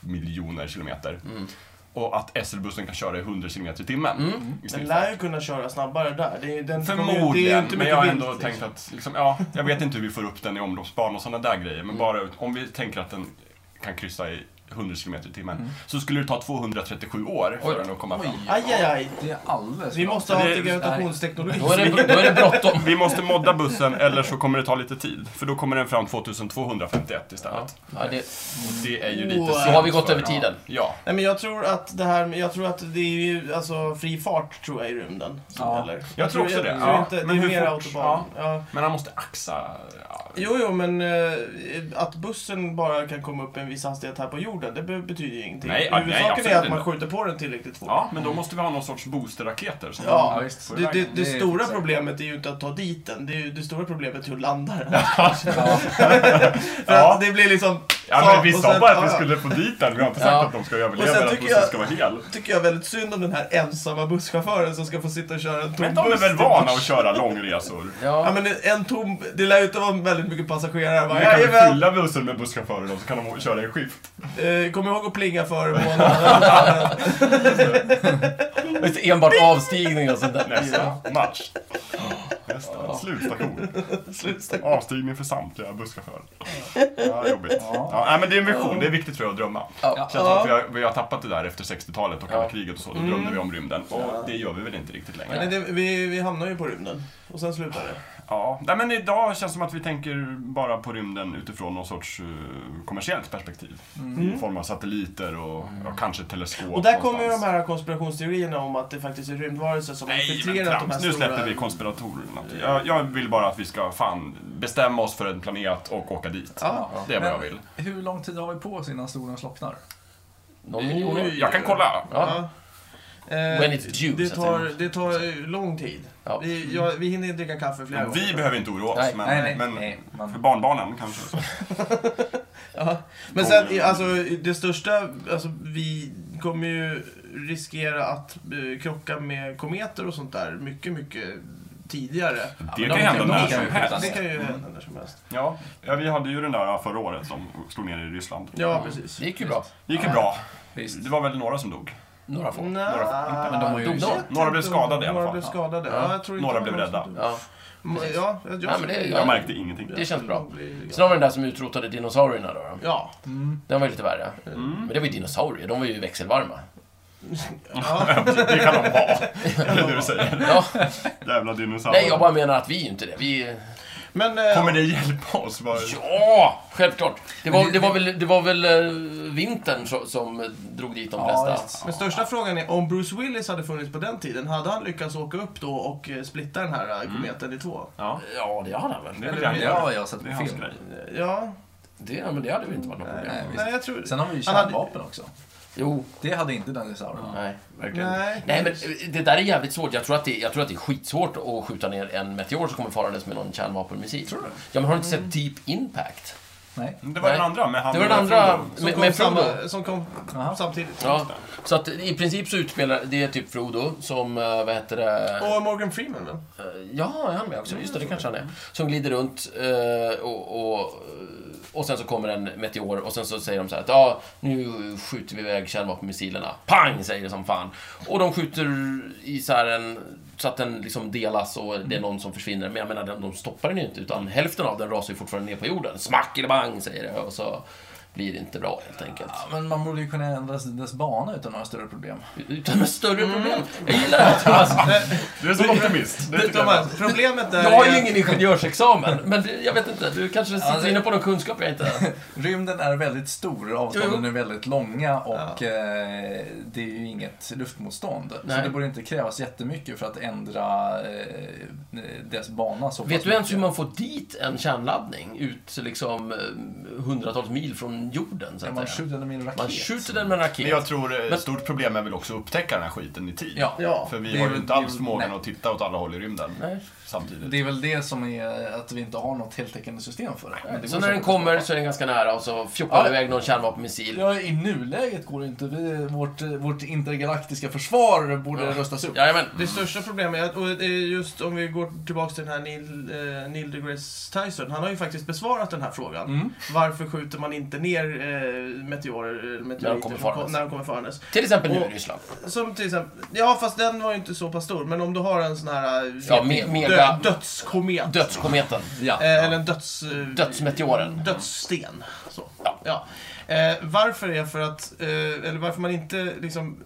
Speaker 3: miljoner kilometer
Speaker 2: Mm.
Speaker 3: och att SL-bussen kan köra i 100 kilometer i timmen i
Speaker 1: Den
Speaker 3: snitt.
Speaker 1: lär ju kunna köra snabbare där. Det är, ju- den kommer ju- det är ju
Speaker 3: Förmodligen,
Speaker 1: inte
Speaker 3: men jag har
Speaker 1: mycket
Speaker 3: ändå
Speaker 1: vilt,
Speaker 3: tänkt att, liksom, ja, jag vet inte hur vi får upp den i omloppsbana och sådana där grejer,
Speaker 1: Mm.
Speaker 3: men bara ut- om vi tänker att den kan kryssa i 100 kilometer i timmen,
Speaker 1: Mm.
Speaker 3: så skulle det ta 237 år för
Speaker 2: Oj.
Speaker 3: den att komma fram.
Speaker 4: Oj,
Speaker 1: Aj, aj, aj.
Speaker 4: det är alldeles
Speaker 1: Vi
Speaker 4: bra.
Speaker 1: måste ha
Speaker 3: Det-
Speaker 1: antigravitationsteknologi.
Speaker 2: Då är det, då är det bråttom.
Speaker 3: Vi måste modda bussen, eller så kommer det ta lite tid, för då kommer den fram 2251 istället.
Speaker 2: Ja, det,
Speaker 3: Och det är ju lite
Speaker 1: Wow.
Speaker 3: sent
Speaker 2: Då har vi gått
Speaker 3: för-
Speaker 2: över tiden.
Speaker 3: Ja.
Speaker 1: Nej, men jag tror att det här, jag tror att det är ju, alltså fri fart tror jag i rymden som
Speaker 4: Ja.
Speaker 1: gäller.
Speaker 3: Jag tror också det,
Speaker 1: Jag tror
Speaker 3: ja.
Speaker 1: inte, det
Speaker 3: Men
Speaker 1: är
Speaker 3: hur
Speaker 1: mer
Speaker 3: fort?
Speaker 1: autobahn. Ja.
Speaker 3: Men han måste axa. Ja.
Speaker 1: Jo, jo, men eh, att bussen bara kan komma upp i en viss hastighet här på jorden, det be- betyder ju ingenting.
Speaker 3: Nej, ja, nej,
Speaker 1: Huvudsaken är
Speaker 3: absolut
Speaker 1: att man
Speaker 3: inte.
Speaker 1: skjuter på den tillräckligt fort.
Speaker 3: ja, men då måste vi ha någon sorts boosterraketer. som
Speaker 1: Ja,
Speaker 3: man
Speaker 4: visst.
Speaker 3: får
Speaker 1: Det,
Speaker 3: iväg
Speaker 1: det,
Speaker 3: den.
Speaker 1: det
Speaker 4: Det är
Speaker 1: stora
Speaker 4: exakt.
Speaker 1: problemet är ju inte att ta dit den, det, är ju, det stora problemet är hur landa den.
Speaker 4: Ja,
Speaker 1: För
Speaker 3: Ja.
Speaker 1: att det blir liksom...
Speaker 3: Ja, men vi
Speaker 1: och
Speaker 3: sa
Speaker 1: sen-
Speaker 3: bara att vi
Speaker 1: ja, ja.
Speaker 3: skulle få dit den. Vi har inte sagt
Speaker 2: Ja.
Speaker 3: att de ska
Speaker 1: Och
Speaker 3: överleva
Speaker 1: sen
Speaker 3: eller att
Speaker 1: tycker
Speaker 3: bussen
Speaker 1: jag-
Speaker 3: ska vara hel.
Speaker 1: tycker jag väldigt synd om den här ensamma busschauffören som ska få sitta och köra en tom
Speaker 3: Men de är
Speaker 1: buss
Speaker 3: väl
Speaker 1: till
Speaker 3: vana
Speaker 1: Mars.
Speaker 3: att köra långresor?
Speaker 1: Ja
Speaker 2: ja,
Speaker 1: men en tom, det lär ju inte vara väldigt mycket passagerare.
Speaker 3: Vi
Speaker 1: Va?
Speaker 3: kan väl
Speaker 1: Jajamän!
Speaker 3: fylla bussen med busschaufförer då, så kan de köra i skift.
Speaker 1: Eh, kom ihåg att plinga före månaden.
Speaker 2: just det, enbart avstigning och sånt där.
Speaker 3: Nästa match. Nästa slutstation.
Speaker 1: Slutstation.
Speaker 3: Avstigning för samtliga busschaufförer. Ja, jobbigt. Ja, nej, men det är en vision. Det är viktigt tror jag att drömma.
Speaker 2: Ja.
Speaker 3: Känns som att vi har, vi har tappat det där efter 60-talet och
Speaker 2: Ja.
Speaker 3: kalla kriget och så. Då drömde vi om rymden. Och det gör vi väl inte riktigt längre.
Speaker 1: Mm. Nej, det, vi, vi hamnar ju på rymden. Och sen slutar det.
Speaker 3: Ja, nej, men idag känns det som att vi tänker bara på rymden utifrån någon sorts eh, kommersiellt perspektiv. I form av satelliter och, och kanske teleskop.
Speaker 1: Mm. Och där kommer ju de
Speaker 3: någonstans.
Speaker 1: här konspirationsteorierna om att det faktiskt är rymdvarelser som har
Speaker 3: Nej, men
Speaker 1: infiltrerat de här
Speaker 3: trams. Nu släpper vi
Speaker 1: stora...
Speaker 3: konspiratorerna. Jag, jag vill bara att vi ska fan bestämma oss för en planet och åka dit.
Speaker 1: Ja.
Speaker 3: Det är vad jag
Speaker 4: Men
Speaker 3: vill.
Speaker 4: Hur lång tid har vi på oss innan solen slocknar?
Speaker 2: Någon miljon år.
Speaker 3: Jag kan kolla.
Speaker 2: Ja.
Speaker 1: Eh,
Speaker 2: When it's due,
Speaker 1: det,
Speaker 2: så att säga.
Speaker 1: tar, det tar eh, lång tid.
Speaker 2: Ja.
Speaker 1: Vi, jag, vi hinner inte dricka kaffe flera gånger.
Speaker 3: Vi behöver inte oroa oss,
Speaker 2: Nej,
Speaker 3: men, men för
Speaker 4: Man,
Speaker 3: barnbarnen kanske.
Speaker 1: Ja. Men sen, alltså, det största, alltså, vi kommer ju riskera att eh, krocka med kometer och sånt där mycket, mycket tidigare.
Speaker 3: Det
Speaker 2: men
Speaker 3: kan
Speaker 2: de-
Speaker 3: hända
Speaker 2: de
Speaker 3: när
Speaker 2: kan
Speaker 3: som
Speaker 2: ju
Speaker 3: helst.
Speaker 1: Det kan ju hända när som helst.
Speaker 3: Ja, ja, vi hade ju den där förra året som slog ner i Ryssland.
Speaker 1: Ja, precis.
Speaker 2: Det gick ju bra.
Speaker 3: Det gick ju bra.
Speaker 4: visst.
Speaker 3: Det var väl några som dog.
Speaker 2: Några få.
Speaker 1: Nja,
Speaker 2: Men de har ju-
Speaker 1: jag
Speaker 2: Några
Speaker 1: vet
Speaker 3: blev
Speaker 1: inte.
Speaker 3: skadade i alla
Speaker 1: Några
Speaker 3: fall.
Speaker 1: blev skadade.
Speaker 2: Ja.
Speaker 1: Ja, jag tror inte
Speaker 3: Några
Speaker 1: det
Speaker 3: blev
Speaker 1: var någon
Speaker 3: rädda.
Speaker 1: som dog.
Speaker 2: Ja.
Speaker 1: M- Ja, jag,
Speaker 2: Nej, men det-
Speaker 3: Jag märkte ingenting.
Speaker 2: Det känns bra.
Speaker 1: blir-
Speaker 2: Snarare den där som utrotade dinosaurierna då. då.
Speaker 1: Ja.
Speaker 2: Den var ju lite värre. Men det var ju dinosaurier, de var ju växelvarma.
Speaker 1: ja.
Speaker 3: Det kan de vara. Det är det du säger.
Speaker 2: Ja.
Speaker 3: Jävla dinosaurier.
Speaker 2: Nej, jag bara menar att vi är ju inte det. Vi... är-
Speaker 1: Men... eh,
Speaker 3: Kommer det hjälpa oss? Bara...
Speaker 2: Ja, självklart. Det var,
Speaker 4: det-
Speaker 2: det var väl, det var väl eh, vintern så- som eh, drog dit de
Speaker 4: Ja,
Speaker 2: flesta.
Speaker 4: visst.
Speaker 1: Men största frågan är, om Bruce Willis hade funnits på den tiden, hade han lyckats åka upp då och eh, splitta den här eh, kometen i två?
Speaker 3: Ja,
Speaker 2: Ja, det hade han väl.
Speaker 3: det är väl
Speaker 1: Eller
Speaker 3: det han
Speaker 1: vi-
Speaker 4: Ja,
Speaker 3: gör.
Speaker 4: jag har sett
Speaker 3: Det
Speaker 4: på
Speaker 3: är hans
Speaker 4: film.
Speaker 3: grej.
Speaker 1: Ja,
Speaker 2: Det, ja, men det hade väl inte varit något problem.
Speaker 4: Nej, visst.
Speaker 1: nej jag tror...
Speaker 4: Sen har vi ju
Speaker 1: Han hade-
Speaker 4: kärnvapen också.
Speaker 2: Jo,
Speaker 4: Det hade inte dinosaurierna.
Speaker 2: nej, verkligen inte.
Speaker 1: Nej.
Speaker 2: Nej, men eh, det där är jävligt svårt. Jag tror, att det, jag tror att det är skitsvårt att skjuta ner en meteor som kommer farandes med någon kärnvapenmissil. Tror du? Ja, men har du inte sett Deep Impact?
Speaker 4: Nej.
Speaker 3: Det var den
Speaker 2: Nej.
Speaker 3: andra med han
Speaker 2: Det var den
Speaker 3: och
Speaker 2: andra
Speaker 3: Frodo.
Speaker 1: Som
Speaker 2: med,
Speaker 1: kom,
Speaker 2: med Frodo.
Speaker 1: samma, som kom
Speaker 4: Aha.
Speaker 1: samtidigt.
Speaker 2: Ja, så att i princip så utspelar det är typ Frodo som, eh, vad heter det?
Speaker 1: Och Morgan Freeman väl?
Speaker 2: Eh, Ja, är han med också? Just det, det kanske han är. Som glider runt eh, och, och, och sen så kommer en meteor och sen så säger de så här att ja, nu skjuter vi iväg kärnvapenmissilerna. Pang, säger det som fan. Och de skjuter i så här en, så att den liksom delas och det är någon som försvinner. Men jag menar, de, de stoppar den ju inte utan hälften av den rasar ju fortfarande ner på jorden. Smack eller bang, säger det. Och så blir inte bra helt enkelt.
Speaker 4: Ja, men man borde ju kunna ändra dess bana utan några större problem.
Speaker 2: Utan några större problem. Jag gillar det här Alltså, Thomas.
Speaker 3: Du är så optimist. Det tycker jag är
Speaker 1: Thomas,
Speaker 3: bra.
Speaker 1: problemet där
Speaker 2: Jag har ju
Speaker 1: är...
Speaker 2: ingen ingenjörsexamen, men det, jag vet inte. Du kanske sitter
Speaker 4: det-
Speaker 2: inne på någon kunskap jag inte har.
Speaker 4: Rymden är väldigt stor, avstånden
Speaker 2: Jo,
Speaker 4: är väldigt långa och eh, det är ju inget luftmotstånd. Så
Speaker 2: Nej.
Speaker 4: det borde inte krävas jättemycket för att ändra eh, dess bana så
Speaker 2: Vet
Speaker 4: pass
Speaker 2: du ens
Speaker 4: mycket.
Speaker 2: hur man får dit en kärnladdning ut liksom eh, hundratals mil från jorden? Så
Speaker 4: Ja,
Speaker 2: att
Speaker 4: man
Speaker 2: säga?
Speaker 4: skjuter den med en raket.
Speaker 2: man skjuter den med en raket.
Speaker 3: Men jag tror
Speaker 2: Men-
Speaker 3: ett stort problem är väl också att upptäcka den här skiten i tid.
Speaker 4: Ja.
Speaker 1: Ja,
Speaker 3: För vi
Speaker 4: det är
Speaker 3: har ju
Speaker 4: väl-
Speaker 3: inte alls
Speaker 4: det-
Speaker 3: förmågan
Speaker 4: nej.
Speaker 3: att titta åt alla håll i rymden
Speaker 2: Nej.
Speaker 3: samtidigt.
Speaker 4: Det är väl det som är att vi inte har något heltäckande system för det. Men det
Speaker 2: Så
Speaker 4: går
Speaker 2: när den
Speaker 4: säkert att
Speaker 2: kommer
Speaker 4: skapa.
Speaker 2: så är den ganska nära och så fjoppar
Speaker 4: Ja.
Speaker 2: det iväg någon kärnvapenmissil.
Speaker 4: Ja, i nuläget går det inte. Vi, vårt, vårt intergalaktiska försvar borde
Speaker 2: Ja.
Speaker 4: rustas upp.
Speaker 2: Jajamän.
Speaker 1: Det största problemet, är, och det är just om vi går tillbaka till den här Neil, eh, Neil deGrasse Tyson, han har ju faktiskt besvarat den här frågan.
Speaker 4: Mm.
Speaker 1: Varför skjuter man inte ner eh, meteorer, eh, meteoriter som
Speaker 2: kommer
Speaker 1: kom-
Speaker 2: farandes.
Speaker 1: när de kommer farandes?
Speaker 2: Till exempel nu i
Speaker 1: Och-
Speaker 2: Ryssland.
Speaker 1: Som till exempel, ja fast den var ju inte så pass stor, men om du har en sån här eh,
Speaker 2: Ja, me- mega-
Speaker 1: dödskomet.
Speaker 2: Dödskometen.
Speaker 4: Ja.
Speaker 1: Eh, eller en döds... eh,
Speaker 2: Dödsmeteoren.
Speaker 1: Dödssten. Så.
Speaker 2: Ja.
Speaker 1: Eh, varför är för att, eh, eller varför man inte liksom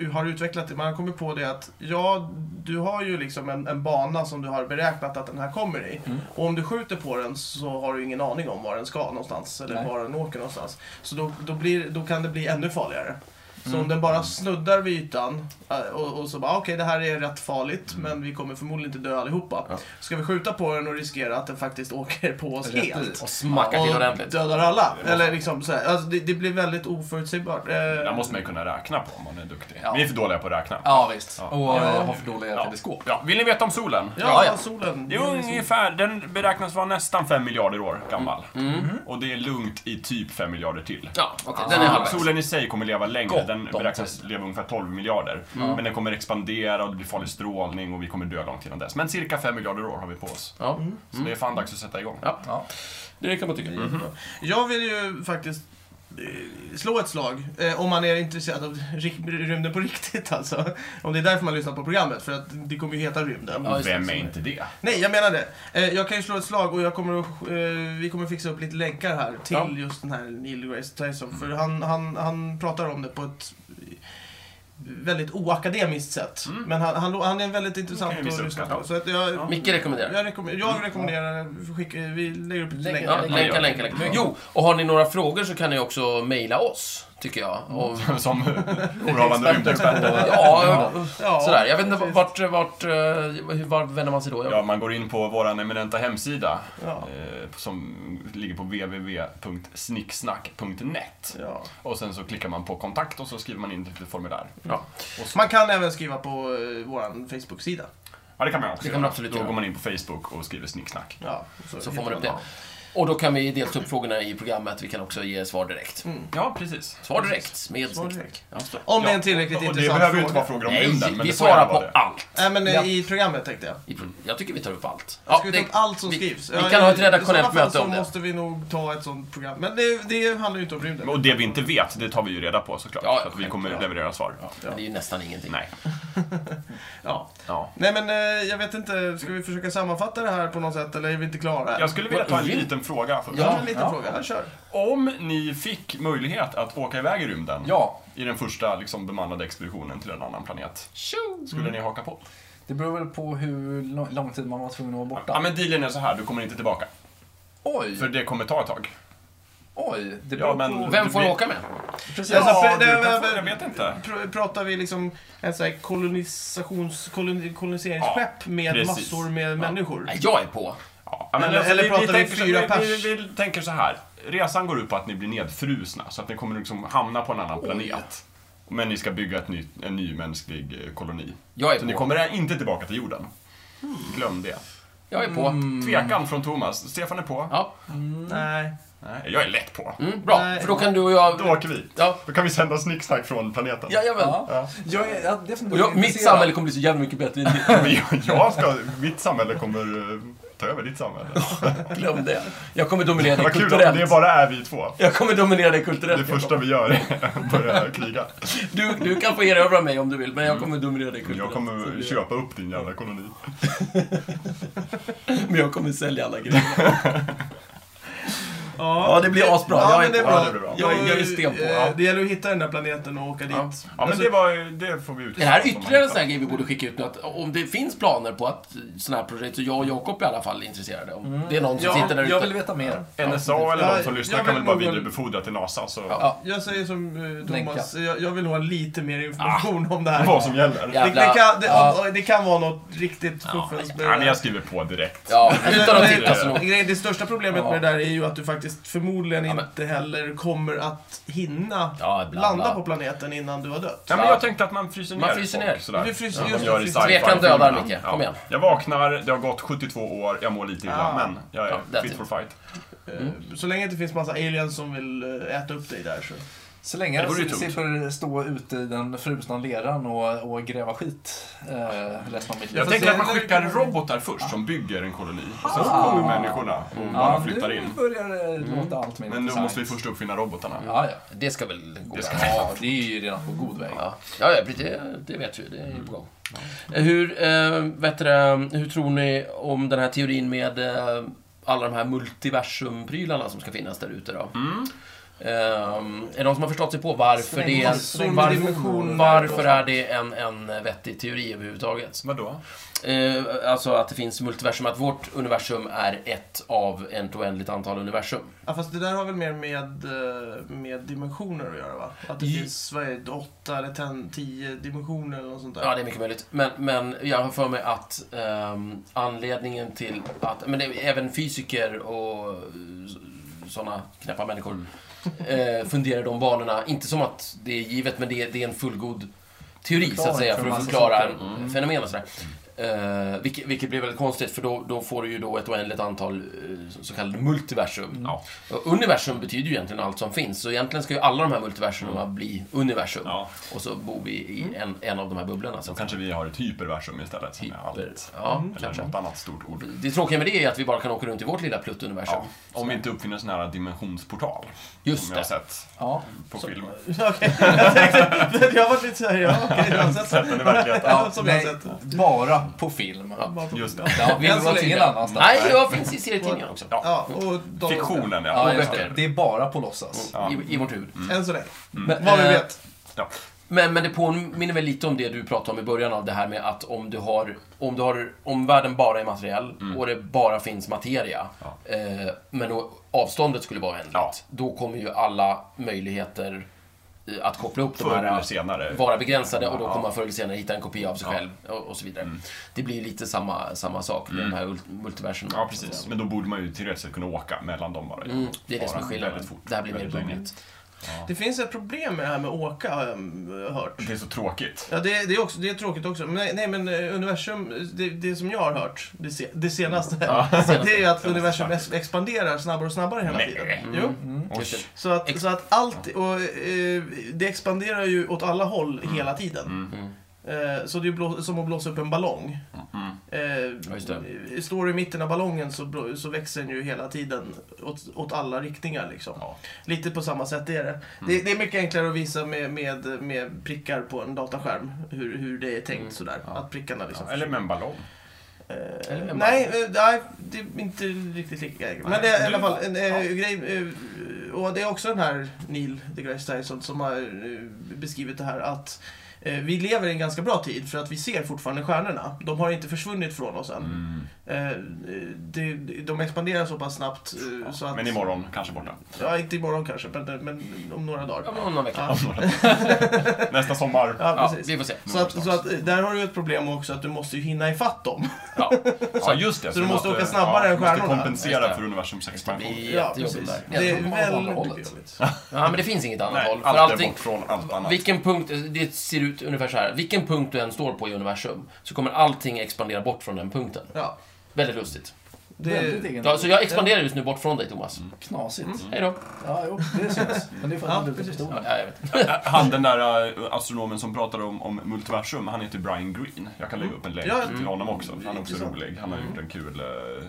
Speaker 1: eh, har utvecklat det, man har kommit på det att ja, du har ju liksom en, en bana som du har beräknat att den här kommer i.
Speaker 4: Mm.
Speaker 1: Och om du skjuter på den så har du ingen aning om var den ska någonstans eller
Speaker 4: Nej.
Speaker 1: var den åker någonstans. Så då, då, blir, då kan det bli ännu farligare. Så
Speaker 4: Mm.
Speaker 1: om den bara snuddar vid ytan eh, och, och så bara okej det här är rätt farligt
Speaker 4: Mm.
Speaker 1: men vi kommer förmodligen inte dö allihopa.
Speaker 2: Ja.
Speaker 1: Ska vi skjuta på den och riskera att den faktiskt åker på oss
Speaker 4: Rätt
Speaker 1: helt?
Speaker 4: i.
Speaker 2: Och smackar till ordentligt.
Speaker 1: dödar alla. Eller liksom så här. Alltså, det, det blir väldigt oförutsägbart. Eh,
Speaker 3: Det där måste man ju kunna räkna på om man är duktig.
Speaker 4: Ja.
Speaker 3: Vi är för dåliga på att räkna.
Speaker 4: Ja, visst.
Speaker 3: Ja.
Speaker 4: Och eh, har för dåliga
Speaker 3: Ja.
Speaker 4: teleskop.
Speaker 3: Ja, vill ni veta om solen?
Speaker 1: ja,
Speaker 2: Ja, ja.
Speaker 1: solen.
Speaker 3: Det är ungefär, den beräknas vara nästan 5 miljarder år gammal. Och det är lugnt i typ 5 miljarder till.
Speaker 2: Ja, okej. Den är
Speaker 3: Ah,
Speaker 2: halvvägs.
Speaker 3: Solen i sig kommer leva längre,
Speaker 2: Gott
Speaker 3: den
Speaker 2: om
Speaker 3: beräknas leva ungefär 12 miljarder. Men den kommer expandera och det blir farlig strålning och vi kommer dö långt innan dess. Men cirka 5 miljarder år har vi på oss.
Speaker 2: Ja.
Speaker 3: Så det är fan dags att sätta igång.
Speaker 2: Ja.
Speaker 4: Ja.
Speaker 2: Det kan man tycka.
Speaker 4: Mhm.
Speaker 1: Jag vill ju faktiskt eh, slå ett slag, eh, om man är intresserad av ry- rymden på riktigt alltså. Om det är därför man lyssnar på programmet, för att det kommer ju heta rymden.
Speaker 2: Ja, just det.
Speaker 3: Vem är inte det?
Speaker 1: Nej, jag menar det. Eh, jag kan ju slå ett slag och jag kommer att, eh, vi kommer fixa upp lite länkar här till
Speaker 2: Ja.
Speaker 1: just den här Neil deGrasse Tyson.
Speaker 3: Mm.
Speaker 1: För han, han, han pratar om det på ett väldigt oakademiskt sätt. Men han, han, han är väldigt intressant
Speaker 3: Kan ju visa
Speaker 1: att
Speaker 3: upp
Speaker 1: lyssna
Speaker 3: Mm. det,
Speaker 1: på. Så att jag,
Speaker 2: Micke rekommenderar.
Speaker 1: jag, rekommender,
Speaker 3: Mm.
Speaker 1: jag rekommenderar, skicka, vi lägger upp lite
Speaker 4: Lägg-
Speaker 2: Ja,
Speaker 1: länkar.
Speaker 4: Länkar,
Speaker 2: länkar,
Speaker 3: länkar.
Speaker 2: länkar, länkar. Jo, och har ni några frågor så kan ni också mejla oss, tycker jag. Och,
Speaker 1: Mm.
Speaker 3: Som jourhavande rymdexperter.
Speaker 2: ja,
Speaker 1: Ja,
Speaker 2: sådär. Jag vet inte
Speaker 1: precis.
Speaker 2: vart, vart, eh, hur- var vänder man sig då?
Speaker 3: Ja, man går in på vår eminenta hemsida
Speaker 1: Ja.
Speaker 3: eh, som ligger på www.snicksnack.net.
Speaker 1: Ja.
Speaker 3: Och sen så klickar man på kontakt och så skriver man in ett litet formulär.
Speaker 2: Ja.
Speaker 1: Man kan även skriva på eh, vår Facebook-sida.
Speaker 3: Ja, det kan man också
Speaker 2: Det kan
Speaker 3: göra.
Speaker 2: man absolut
Speaker 3: Då
Speaker 2: göra.
Speaker 3: går man in på Facebook och skriver snicksnack.
Speaker 1: Ja,
Speaker 2: Så får
Speaker 1: hittar
Speaker 2: man upp det. Och då kan vi dels ta upp frågorna i programmet, vi kan också ge svar direkt.
Speaker 3: Ja, precis.
Speaker 2: Svar direkt med
Speaker 1: Mm. Svar
Speaker 2: snick.
Speaker 1: direkt.
Speaker 2: Ja.
Speaker 1: Om det är
Speaker 3: Ja,
Speaker 1: en tillräckligt
Speaker 3: och det
Speaker 1: intressant
Speaker 3: behöver ju
Speaker 1: fråga.
Speaker 3: inte vara frågor om
Speaker 2: Nej,
Speaker 3: rymden, men
Speaker 2: vi
Speaker 3: det får gärna
Speaker 2: svarar
Speaker 3: vara
Speaker 2: på
Speaker 3: det.
Speaker 2: allt.
Speaker 1: Nej, men eh,
Speaker 4: Ja.
Speaker 1: i programmet tänkte jag.
Speaker 2: I pro- Jag tycker vi tar upp allt.
Speaker 1: Ska vi ta
Speaker 2: det-
Speaker 1: upp allt som
Speaker 2: vi,
Speaker 1: skrivs?
Speaker 2: Vi kan ha ett redaktionellt
Speaker 1: möte
Speaker 2: möte om
Speaker 1: så
Speaker 2: det.
Speaker 1: måste vi nog ta ett sånt program. Men det, det handlar ju inte om rymden.
Speaker 3: Och det vi inte vet, det tar vi ju reda på såklart.
Speaker 2: Ja,
Speaker 3: så att vi
Speaker 2: självklart.
Speaker 3: kommer leverera svar.
Speaker 2: Men det är ju nästan ingenting.
Speaker 3: Nej.
Speaker 1: Ja.
Speaker 3: Ja.
Speaker 1: Nej men eh, jag vet inte, ska vi försöka sammanfatta det här på något sätt eller är vi inte klara? än?
Speaker 3: Jag skulle vilja ta en liten fråga först.
Speaker 1: Jag har en liten
Speaker 4: Ja.
Speaker 1: fråga, jag kör.
Speaker 3: Om ni fick möjlighet att åka iväg i rymden
Speaker 4: ja,
Speaker 3: i den första liksom, bemannade expeditionen till en annan planet,
Speaker 2: Tjo!
Speaker 3: skulle ni haka på?
Speaker 4: det beror väl på hur lång, lång tid man var tvungen att vara borta.
Speaker 3: Ja, men dealen är så här, du kommer inte tillbaka.
Speaker 4: Oj,
Speaker 3: För det kommer ta ett tag.
Speaker 4: oj. Det beror
Speaker 3: Ja, men-
Speaker 4: på...
Speaker 2: Vem får
Speaker 3: Vi-
Speaker 2: åka med?
Speaker 4: Precis.
Speaker 1: Ja,
Speaker 3: Ja,
Speaker 1: det-
Speaker 3: du
Speaker 1: det-
Speaker 3: kan
Speaker 1: det-
Speaker 3: få, jag vet inte.
Speaker 1: Pr- Pratar vi liksom en sån här kolonisations, kolon, koloniseringsskepp med
Speaker 3: precis.
Speaker 1: massor med människor?
Speaker 2: Nej, jag är på.
Speaker 3: Ja, men
Speaker 1: Eller-
Speaker 3: alltså,
Speaker 1: eller
Speaker 3: vi,
Speaker 1: pratar
Speaker 3: vi
Speaker 1: vi
Speaker 3: tänker, så-
Speaker 1: fyra
Speaker 3: vi,
Speaker 1: pers?
Speaker 3: vi, vi tänker så här. Resan går ut på att ni blir nedfrusna, så att ni kommer liksom hamna på en annan planet. Men ni ska bygga ett ny, en ny mänsklig eh, koloni.
Speaker 2: Jag är
Speaker 3: Så ni
Speaker 2: på.
Speaker 3: kommer inte tillbaka till jorden. Glöm det.
Speaker 2: Jag är på.
Speaker 1: Mm.
Speaker 3: Tvekan från Thomas. Stefan är på.
Speaker 2: Ja,
Speaker 1: Nej.
Speaker 3: Nej, jag är lätt på.
Speaker 2: mm, bra.
Speaker 1: Nej.
Speaker 2: För då kan du och jag...
Speaker 3: Då åker vi.
Speaker 2: Ja.
Speaker 3: Då kan vi sända snicksnack från planeten.
Speaker 2: Jajamän.
Speaker 4: Ja. Jag är jag är definitivt
Speaker 2: Och jag, mitt
Speaker 4: intresserad.
Speaker 2: samhälle kommer bli så jävla mycket bättre än ditt.
Speaker 3: Men jag- jag ska, mitt samhälle kommer eh, ta över ditt samhälle.
Speaker 2: Glöm det. Jag kommer dominera dig
Speaker 3: Vad kul om det
Speaker 2: kulturellt.
Speaker 3: bara är vi två.
Speaker 2: Jag kommer dominera dig
Speaker 3: Det
Speaker 2: kulturellt.
Speaker 3: första vi gör är att börja kriga.
Speaker 2: Du, du kan få erövra mig om du vill, men jag kommer dominera dig kulturellt.
Speaker 3: Jag
Speaker 2: Så
Speaker 3: kommer
Speaker 2: det-
Speaker 3: köpa upp din jävla koloni.
Speaker 2: Men jag kommer sälja alla grejer. Ja, det blir asbra.
Speaker 1: Ja,
Speaker 2: Jag är
Speaker 1: men det är
Speaker 2: på.
Speaker 1: bra.
Speaker 3: Ja, det blir bra.
Speaker 2: Jag är- jag är sten på, ja.
Speaker 1: eh, Det gäller att hitta den där planeten och åka dit.
Speaker 2: Ja.
Speaker 3: Ja, men det, var, det får vi ut.
Speaker 2: Det här är ytterligare en sån här grej vi borde skicka ut nu. Att om det finns planer på att sådana här projekt, så jag och Jakob i alla fall är intresserade. Om
Speaker 3: Mm.
Speaker 2: det är någon som
Speaker 3: Ja,
Speaker 2: sitter där
Speaker 4: Jag
Speaker 2: ute.
Speaker 4: vill veta mer.
Speaker 3: NSA eller
Speaker 1: Ja,
Speaker 3: de som lyssnar
Speaker 1: jag vill
Speaker 3: kan väl bara
Speaker 1: nog-
Speaker 3: vidarebefordra till NASA så
Speaker 2: Ja.
Speaker 1: Jag säger som eh, Thomas, jag, jag vill ha lite mer information om det här.
Speaker 3: Ah. vad som gäller.
Speaker 1: Det,
Speaker 2: Ja.
Speaker 1: det, kan, det,
Speaker 2: Ja.
Speaker 1: det kan vara något riktigt fuffens med
Speaker 3: Ja,
Speaker 1: det
Speaker 3: men
Speaker 1: där.
Speaker 3: jag skriver på direkt.
Speaker 2: Ja, utan att
Speaker 1: Nej,
Speaker 2: titta så
Speaker 1: det-
Speaker 2: nog.
Speaker 1: grejen- Det största problemet
Speaker 2: Ja.
Speaker 1: med det där är ju att du faktiskt förmodligen
Speaker 2: men-
Speaker 1: inte heller kommer att hinna
Speaker 2: Ja, bla,
Speaker 1: landa
Speaker 2: bla.
Speaker 1: på planeten innan du har dött.
Speaker 3: Ja, men jag tänkte att man fryser ner
Speaker 2: Man fryser
Speaker 3: folk
Speaker 2: ner.
Speaker 3: sådär.
Speaker 1: Vi fryser-
Speaker 3: Ja,
Speaker 1: just det,
Speaker 3: de gör i
Speaker 1: fryser.
Speaker 3: sci-fi
Speaker 2: Tvekan dödar,
Speaker 3: filmerna.
Speaker 2: Micke. Kom igen.
Speaker 3: Jag vaknar, det har gått 72 år, jag mår lite illa,
Speaker 1: Ah.
Speaker 3: men jag är
Speaker 2: Ja, that's
Speaker 3: fit
Speaker 2: it.
Speaker 3: for fight.
Speaker 2: Mm.
Speaker 1: Eh, Så länge det inte finns massa aliens som vill eh, äta upp dig där så...
Speaker 4: Så
Speaker 3: Det
Speaker 4: länge
Speaker 3: vore ju tungt.
Speaker 4: slipper stå ute i den frusna leran och, och gräva skit eh, resten av mitt liv.
Speaker 3: Jag
Speaker 1: får
Speaker 3: tänker
Speaker 1: se.
Speaker 3: att man skickar robotar först som bygger en koloni. Och sen så kommer människorna och bara flyttar in.
Speaker 4: Nu börjar det
Speaker 2: Mm.
Speaker 4: låta allt mer
Speaker 3: Men då
Speaker 4: intressant.
Speaker 3: måste vi först uppfinna robotarna.
Speaker 4: Ja, ja.
Speaker 2: Det ska väl gå bra.
Speaker 3: Det ska
Speaker 4: ja, det är ju redan på god väg.
Speaker 2: Ja, ja ja, precis. det, det vet vi. Det är ju på gång. Hur, eh, vet du, det, hur tror ni om den här teorin med eh, alla de här multiversumprylarna som ska finnas där ute då? Ehm, är det någon som har förstått sig på varför det
Speaker 1: Massor
Speaker 2: är,
Speaker 1: med
Speaker 2: varför,
Speaker 1: dimensioner.
Speaker 2: varför är det en, en vettig teori överhuvudtaget?
Speaker 3: Vadå?
Speaker 2: Eh, alltså att det finns multiversum, att vårt universum är ett av ett oändligt antal universum.
Speaker 1: Ja, fast det där har väl mer med, eh, med dimensioner att göra va? Att det
Speaker 2: I-
Speaker 1: finns, vad är det, åtta eller ten, tio dimensioner eller något sånt där.
Speaker 2: Ja, det är mycket möjligt. Men, men jag har för mig att ehm, anledningen till att... Men det, är även fysiker och sådana knäppa människor eh, funderar de banorna. Inte som att det är givet, men det är, det är en fullgod teori, så att
Speaker 4: Förklaring
Speaker 2: säga,
Speaker 4: för
Speaker 2: för att
Speaker 4: massa
Speaker 2: förklara
Speaker 4: saker.
Speaker 2: mm. fenomen och sådär. Eh, vilket, vilket blir väldigt konstigt, för då, då får du ju då ett oändligt antal eh, så- så kallade multiversum.
Speaker 3: Ja.
Speaker 2: Och universum betyder ju egentligen allt som finns, så egentligen ska ju alla de här multiversumerna bli universum.
Speaker 3: ja.
Speaker 2: Och så bor vi i en, en av de här bubblorna. Så
Speaker 3: Då
Speaker 2: att säga.
Speaker 3: kanske vi har ett hyperversum istället. Som är
Speaker 2: Hyper.
Speaker 3: allt.
Speaker 2: Ja,
Speaker 3: Eller
Speaker 2: kanske.
Speaker 3: något annat stort ord.
Speaker 2: Det tråkiga med det är att vi bara kan åka runt i vårt lilla pluttuniversum.
Speaker 3: Ja. Om vi inte uppfinner sån här dimensionsportal.
Speaker 2: Just
Speaker 3: som jag har
Speaker 2: det.
Speaker 3: sett
Speaker 4: Ja.
Speaker 3: på film.
Speaker 1: Okej, jag tänkte, jag har varit lite såhär, ja okej, du har sett
Speaker 3: Den är verkligen...
Speaker 1: Ja, som jag har
Speaker 4: nej,
Speaker 1: sett.
Speaker 4: bara på film. Ja,
Speaker 1: Bara på-
Speaker 3: Just det.
Speaker 4: vi
Speaker 1: Än
Speaker 4: vill
Speaker 1: så
Speaker 4: vara
Speaker 1: länge.
Speaker 4: ingen annanstans.
Speaker 2: Nej, jag finns i serietidningar också.
Speaker 3: Ja.
Speaker 1: Ja, och de,
Speaker 3: Fiktionen,
Speaker 4: Ja,
Speaker 3: ja.
Speaker 4: just det.
Speaker 2: böcker.
Speaker 4: det är bara på låtsas.
Speaker 3: Ja.
Speaker 2: I, I vårt huvud.
Speaker 1: Än så länge.
Speaker 3: Mm.
Speaker 2: Men,
Speaker 1: Vad vi
Speaker 2: eh,
Speaker 1: vet.
Speaker 3: ja.
Speaker 2: Men, men det påminner väl lite om det du pratade om i början av det här med att om du har, om du har, om världen bara är materiell och det bara finns materia,
Speaker 3: Mm. Ja.
Speaker 2: eh, men då avståndet skulle vara oändligt,
Speaker 3: Ja.
Speaker 2: då kommer ju alla möjligheter eh, att koppla upp de
Speaker 3: Förr eller
Speaker 2: här
Speaker 3: senare.
Speaker 2: vara begränsade och då kommer
Speaker 3: Ja. Mm.
Speaker 2: man förr eller senare hitta en kopia av sig själv och, och så vidare. Det blir lite samma, samma sak med de här ult- multiverserna.
Speaker 3: Ja, precis. Men då borde man ju teoretiskt sett kunna åka mellan dem bara.
Speaker 2: Mm, det är det
Speaker 3: Bara
Speaker 2: som är skillnaden.
Speaker 3: väldigt fort,
Speaker 2: Det här blir mer Typ
Speaker 3: väldigt länge.
Speaker 2: bubbligt.
Speaker 1: Det finns ett problem med det här med åka, har jag mm, hört.
Speaker 3: Det är så tråkigt.
Speaker 1: Ja, det, det, är också, det är tråkigt också. Men nej, nej, men eh, universum, det, det som jag har hört, det, se, det senaste, det är ju att universum ex- expanderar snabbare och snabbare hela
Speaker 3: Nej.
Speaker 1: tiden. Jo.
Speaker 4: Mm.
Speaker 2: Just det.
Speaker 1: Så att, så att allt, och, eh, det expanderar ju åt alla håll hela tiden.
Speaker 2: Mm.
Speaker 1: Eh, så det är blå, som att blåsa upp en ballong. Eh,
Speaker 2: just det.
Speaker 1: eh, står du i mitten av ballongen så, blå- så växer den ju hela tiden åt, åt alla riktningar. Liksom.
Speaker 3: Ja.
Speaker 1: Lite på samma sätt är det. det. Det är mycket enklare att visa med, med, med prickar på en dataskärm hur, hur det är tänkt. Sådär. Att prickarna liksom...
Speaker 3: Eller med en ballong.
Speaker 1: Eh,
Speaker 2: Eller med
Speaker 1: nej, eh, nej, det är inte riktigt lika. Men det är i alla fall en eh, grej. eh, och det är också den här Neil deGrasse Tyson som har eh, beskrivit det här att eh, vi lever i en ganska bra tid för att vi ser fortfarande stjärnorna. De har inte försvunnit från oss än.
Speaker 3: Mm.
Speaker 1: Eh, det, de expanderar så pass snabbt eh, så att...
Speaker 3: Men imorgon kanske borta.
Speaker 1: Ja, inte imorgon kanske, men, eh, men om några dagar.
Speaker 2: Ja, men om någon vecka.
Speaker 1: Ja,
Speaker 3: Nästa sommar.
Speaker 1: ja,
Speaker 2: Ja,
Speaker 1: precis.
Speaker 2: vi får se.
Speaker 1: Så att, så att eh, där har du ett problem också att du måste ju hinna ifatt dem.
Speaker 2: Ja.
Speaker 3: Ja, just det.
Speaker 1: Så du måste åka snabbare än
Speaker 3: Du
Speaker 1: stjärnorna.
Speaker 3: måste
Speaker 2: Just
Speaker 3: kompensera
Speaker 2: det.
Speaker 3: för universums
Speaker 2: Det
Speaker 3: expansion.
Speaker 2: blir jättejobbigt där.
Speaker 1: Det är
Speaker 4: tror man
Speaker 1: väldigt
Speaker 4: håller hållet.
Speaker 1: jobbigt.
Speaker 2: Ja, men det finns inget annat
Speaker 3: Nej,
Speaker 2: håll. För
Speaker 3: allt är
Speaker 2: allting,
Speaker 3: bort från allt annat.
Speaker 2: vilken punkt, det ser ut ungefär så här. Vilken punkt du än står på i universum så kommer allting expandera bort från den punkten.
Speaker 1: Ja,
Speaker 2: Väldigt lustigt.
Speaker 1: det,
Speaker 4: Väldigt egen.
Speaker 2: Ja, så jag expanderar just nu bort från dig, Thomas.
Speaker 3: Mm.
Speaker 4: Knasigt.
Speaker 2: Hej då.
Speaker 4: Ja, jo, det syns. Men det är för
Speaker 1: Ja,
Speaker 4: att du inte
Speaker 1: precis.
Speaker 4: förstod
Speaker 2: Ja, jag vet.
Speaker 3: Han den där äh, astronomen som pratade om, om multiversum, han heter Brian Green. Jag kan lägga upp en länk
Speaker 1: Ja,
Speaker 3: till honom också. Han är också
Speaker 1: intressant.
Speaker 3: rolig. Han har gjort en kul... eh,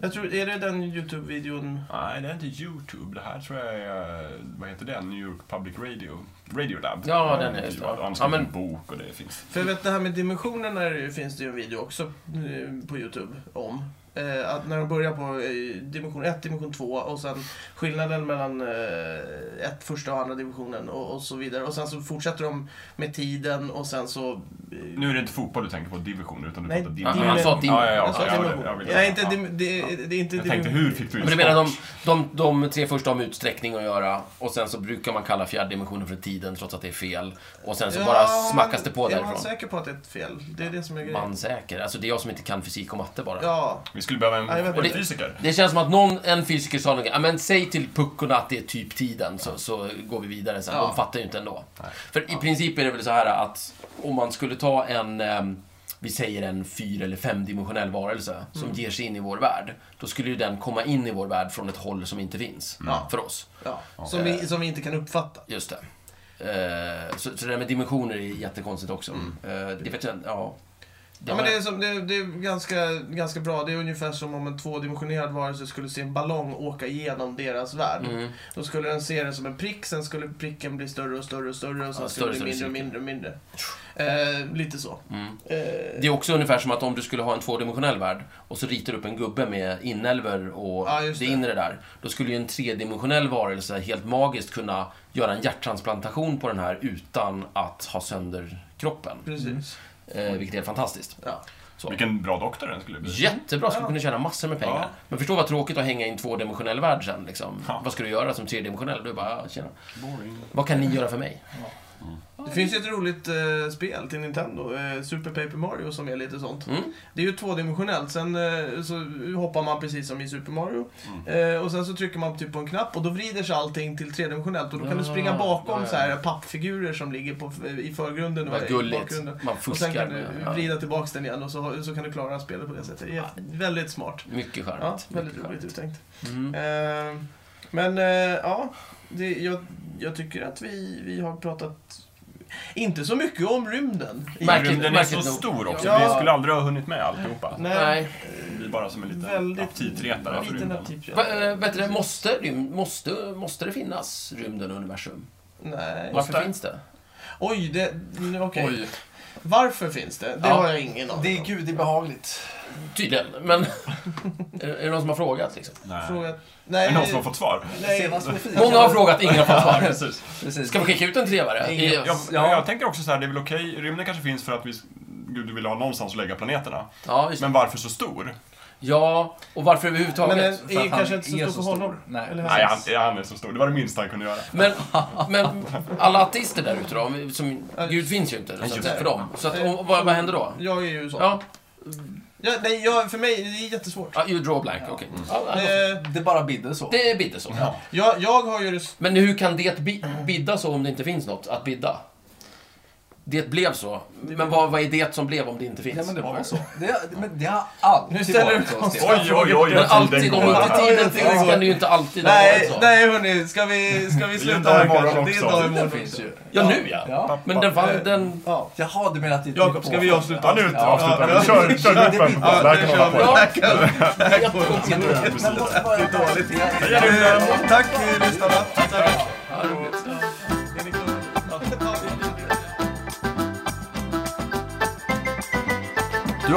Speaker 1: Jag tror, är det den YouTube-videon?
Speaker 3: Nej, det är inte YouTube. Det här tror jag är... eh, Vad heter det? New York Public Radio. Radiolab.
Speaker 2: Ja, den är-
Speaker 3: Eh,
Speaker 2: just det.
Speaker 3: Han har
Speaker 2: Ja,
Speaker 3: skrivit
Speaker 2: men-
Speaker 3: en bok och det finns.
Speaker 1: För jag vet det här med dimensionerna är det ju- finns det ju en video också eh, på Youtube om. Eh, att när de börjar på eh, dimension 1, dimension 2 och sen skillnaden mellan eh, ett första och andra dimensionen och, och så vidare. Och sen så fortsätter de med tiden och sen så... eh,
Speaker 3: Nu är det inte fotboll du tänker på, divisioner, utan du
Speaker 1: Nej,
Speaker 3: pratar
Speaker 1: dimen-
Speaker 3: Alltså, dimension.
Speaker 2: Han sa dimen-
Speaker 3: Ja, ja, ja,
Speaker 1: jag sa
Speaker 3: ja,
Speaker 1: dimension.
Speaker 3: ja, jag vill-
Speaker 1: Nej, inte
Speaker 3: ja.
Speaker 1: dim- det, det är inte
Speaker 3: Jag tänkte,
Speaker 1: dimension-
Speaker 3: hur fick du in
Speaker 2: Men du menar de,
Speaker 3: sport?
Speaker 2: de, de tre första har med utsträckning att göra och sen så brukar man kalla fjärde dimensionen för tiden trots att det är fel. Och sen så bara smackas det på
Speaker 1: Är man
Speaker 2: därifrån.
Speaker 1: säker på att det är ett fel? Det är det som är grejen.
Speaker 2: Man säker. Alltså det är jag som inte kan fysik och matte bara.
Speaker 1: Ja,
Speaker 3: Vi skulle behöva
Speaker 1: Ja, jag
Speaker 3: en,
Speaker 1: vet
Speaker 3: en
Speaker 2: inte.
Speaker 3: fysiker.
Speaker 2: Det känns som att någon, en fysiker sa något, "Ja, men säg till puckorna att det är typ tiden så, så går vi vidare sen.
Speaker 1: Ja.
Speaker 2: De fattar ju inte ändå. För i princip är det väl så här att om man skulle ta en, ehm, vi säger en fyr eller femdimensionell varelse som
Speaker 1: Mm.
Speaker 2: ger sig in i vår värld. Då skulle ju den komma in i vår värld från ett håll som inte finns
Speaker 1: Ja.
Speaker 2: för oss.
Speaker 1: ja. Som, vi, som vi inte kan uppfatta.
Speaker 2: Just det. Eh, så, så det där med dimensioner är jättekonstigt också. Eh, det vet jag inte, ja.
Speaker 1: Ja, men det, är som, det, är, det är ganska, ganska bra. Det är ungefär som om en tvådimensionerad varelse skulle se en ballong åka genom deras värld.
Speaker 2: Mm.
Speaker 1: Då skulle den se den som en prick, sen skulle pricken bli större och större och större och sen
Speaker 2: Ja,
Speaker 1: skulle det
Speaker 2: större,
Speaker 1: bli mindre
Speaker 2: större
Speaker 1: och mindre och mindre. Eh, lite så.
Speaker 2: Mm.
Speaker 1: Eh,
Speaker 2: Det är också ungefär som att om du skulle ha en tvådimensionell värld och så ritar du upp en gubbe med inälvor och
Speaker 1: Ja,
Speaker 2: det.
Speaker 1: just det.
Speaker 2: inre där. Då skulle ju en tredimensionell varelse helt magiskt kunna göra en hjärttransplantation på den här utan att ha sönder kroppen.
Speaker 1: precis.
Speaker 2: Eh, vilket är helt fantastiskt.
Speaker 1: Ja.
Speaker 2: Ja.
Speaker 3: Vilken bra doktor den skulle bli.
Speaker 2: Jättebra, skulle kunna tjäna massor med pengar.
Speaker 3: Ja.
Speaker 2: Men förstå vad tråkigt att hänga i en tvådimensionell värld sen. Liksom.
Speaker 3: Ja.
Speaker 2: Vad ska du göra som tredimensionell? Du är bara, ja, tjena.
Speaker 3: Boring.
Speaker 2: Vad kan ni göra för mig?
Speaker 1: Det finns ju ett roligt eh, spel till Nintendo, eh, Super Paper Mario, som är lite sånt.
Speaker 2: Mm.
Speaker 1: Det är ju tvådimensionellt, sen eh, så hoppar man precis som i Super Mario.
Speaker 2: Mm.
Speaker 1: Eh, och sen så trycker man typ på en knapp och då vrider sig allting till tredimensionellt och då kan du springa
Speaker 2: Ja,
Speaker 1: bakom
Speaker 2: Ah, ja, ja.
Speaker 1: så här pappfigurer som ligger på, i förgrunden och
Speaker 2: Vad
Speaker 1: i
Speaker 2: gulligt.
Speaker 1: bakgrunden.
Speaker 2: Man
Speaker 1: Och sen
Speaker 2: fuskar
Speaker 1: kan du
Speaker 2: med... Ja.
Speaker 1: vrida tillbaks den igen och så, så kan du klara spelet på det sättet. Det är väldigt smart.
Speaker 2: Mycket
Speaker 1: Ja,
Speaker 2: charmigt.
Speaker 1: väldigt
Speaker 2: mycket
Speaker 1: roligt uttänkt.
Speaker 2: charmigt. Mm.
Speaker 1: Eh, men eh, ja, det, jag, jag tycker att vi, vi har pratat inte så mycket om rymden. I-
Speaker 2: Märkligt-
Speaker 3: Rymden är så
Speaker 2: märkligt nog.
Speaker 3: stor också,
Speaker 1: Ja.
Speaker 3: vi skulle aldrig ha hunnit med alltihopa.
Speaker 1: Nej,
Speaker 2: Nej.
Speaker 3: Vi är bara som en liten
Speaker 1: väldigt
Speaker 3: aptitretare för
Speaker 1: liten
Speaker 3: rymden.
Speaker 2: Va,
Speaker 1: aptitretare.
Speaker 2: eh, vet du, det, måste, rym- måste, måste det finnas rymden och universum?
Speaker 1: Nej.
Speaker 2: Varför
Speaker 3: Måste.
Speaker 2: finns det?
Speaker 1: Oj, det... nu, Okej.
Speaker 4: Oj.
Speaker 1: Varför finns det? Det
Speaker 2: Ja.
Speaker 1: har jag ingen aning
Speaker 4: Det är
Speaker 1: om.
Speaker 4: gudibehagligt.
Speaker 2: Tydligen, men... är, det- är det någon som har frågat liksom?
Speaker 3: Nej.
Speaker 1: Fråga...
Speaker 3: Är
Speaker 1: Nej.
Speaker 3: det någon som har fått svar?
Speaker 1: Nej.
Speaker 4: Senast på Fia.
Speaker 2: Många har frågat, ingen har fått
Speaker 3: Ja,
Speaker 2: svar.
Speaker 3: precis.
Speaker 4: Precis.
Speaker 2: Ska vi skicka ut en trevare?
Speaker 4: Ingen.
Speaker 2: I-
Speaker 3: Jag,
Speaker 4: Ja.
Speaker 3: jag tänker också så här, det är väl okej, rymden kanske finns för att vi, Gud vill ha någonstans att lägga planeterna.
Speaker 2: Ja, just det.
Speaker 3: Men varför så stor?
Speaker 2: Ja, och varför överhuvudtaget?
Speaker 1: Men
Speaker 2: Men,
Speaker 1: den
Speaker 4: För
Speaker 1: är
Speaker 4: att han
Speaker 1: kanske inte så
Speaker 4: är
Speaker 1: stor för
Speaker 4: så
Speaker 1: honom.
Speaker 4: stor. Nej.
Speaker 1: Eller hur?
Speaker 3: Nej, han, ja, han är så stor. Det var det minsta han kunde göra.
Speaker 2: men, alla ateister där ute då? om vi- Som, Gud finns ju inte, så att,
Speaker 3: just det.
Speaker 2: säga, för dem. Så att, och, vad, vad händer då?
Speaker 1: Jag är ju så. Ja.
Speaker 2: Ja,
Speaker 1: nej, jag, för mig det är det jättesvårt.
Speaker 2: ah, you draw blank, okej. Ja,
Speaker 1: Eh,
Speaker 4: Det bara bidde så.
Speaker 2: det bidde så.
Speaker 1: jag, jag har ju det...
Speaker 2: Men hur kan det bi- bidda så om det inte finns något att bidda? Det blev så. Men vad, vad är det som blev om det inte finns?
Speaker 4: Ja, men det var så. Det, men det har alltid
Speaker 1: Nu ställer
Speaker 4: varit
Speaker 1: du
Speaker 4: så. Stefan.
Speaker 3: Oj, oj, oj, oj.
Speaker 2: Men alltid, om inte
Speaker 1: Ja,
Speaker 2: tiden
Speaker 1: tiden
Speaker 2: finns
Speaker 1: går.
Speaker 2: kan det ju inte alltid ha varit
Speaker 1: Nej,
Speaker 2: så.
Speaker 1: nej hörni, ska vi, ska vi
Speaker 3: Det är ju en
Speaker 1: sluta
Speaker 3: dag
Speaker 1: här
Speaker 3: imorgon
Speaker 1: kanske? Det är en
Speaker 3: också.
Speaker 1: dag
Speaker 4: Den
Speaker 1: imorgon
Speaker 4: finns ju.
Speaker 2: Ja, nu ja.
Speaker 4: Ja.
Speaker 2: Men den
Speaker 1: Eh,
Speaker 2: vann, den...
Speaker 1: Ja.
Speaker 4: Jaha, du menar att det typ
Speaker 1: Jakob, ska vi avsluta?
Speaker 3: Ja, nu avslutar vi.
Speaker 1: Ja,
Speaker 3: Kör, kör nu upp en.
Speaker 1: Ja,
Speaker 3: Där
Speaker 1: nu
Speaker 3: kan man
Speaker 1: kör
Speaker 3: vara
Speaker 1: vi.
Speaker 3: på.
Speaker 1: Där kan- där kan vi.
Speaker 4: Men vad- vad är dåligt?
Speaker 3: Heja rymden!
Speaker 1: Eh, Tack eh, lyssnarna. Tack.
Speaker 2: Ja, roligt.
Speaker 1: Erik Lundh.
Speaker 3: Du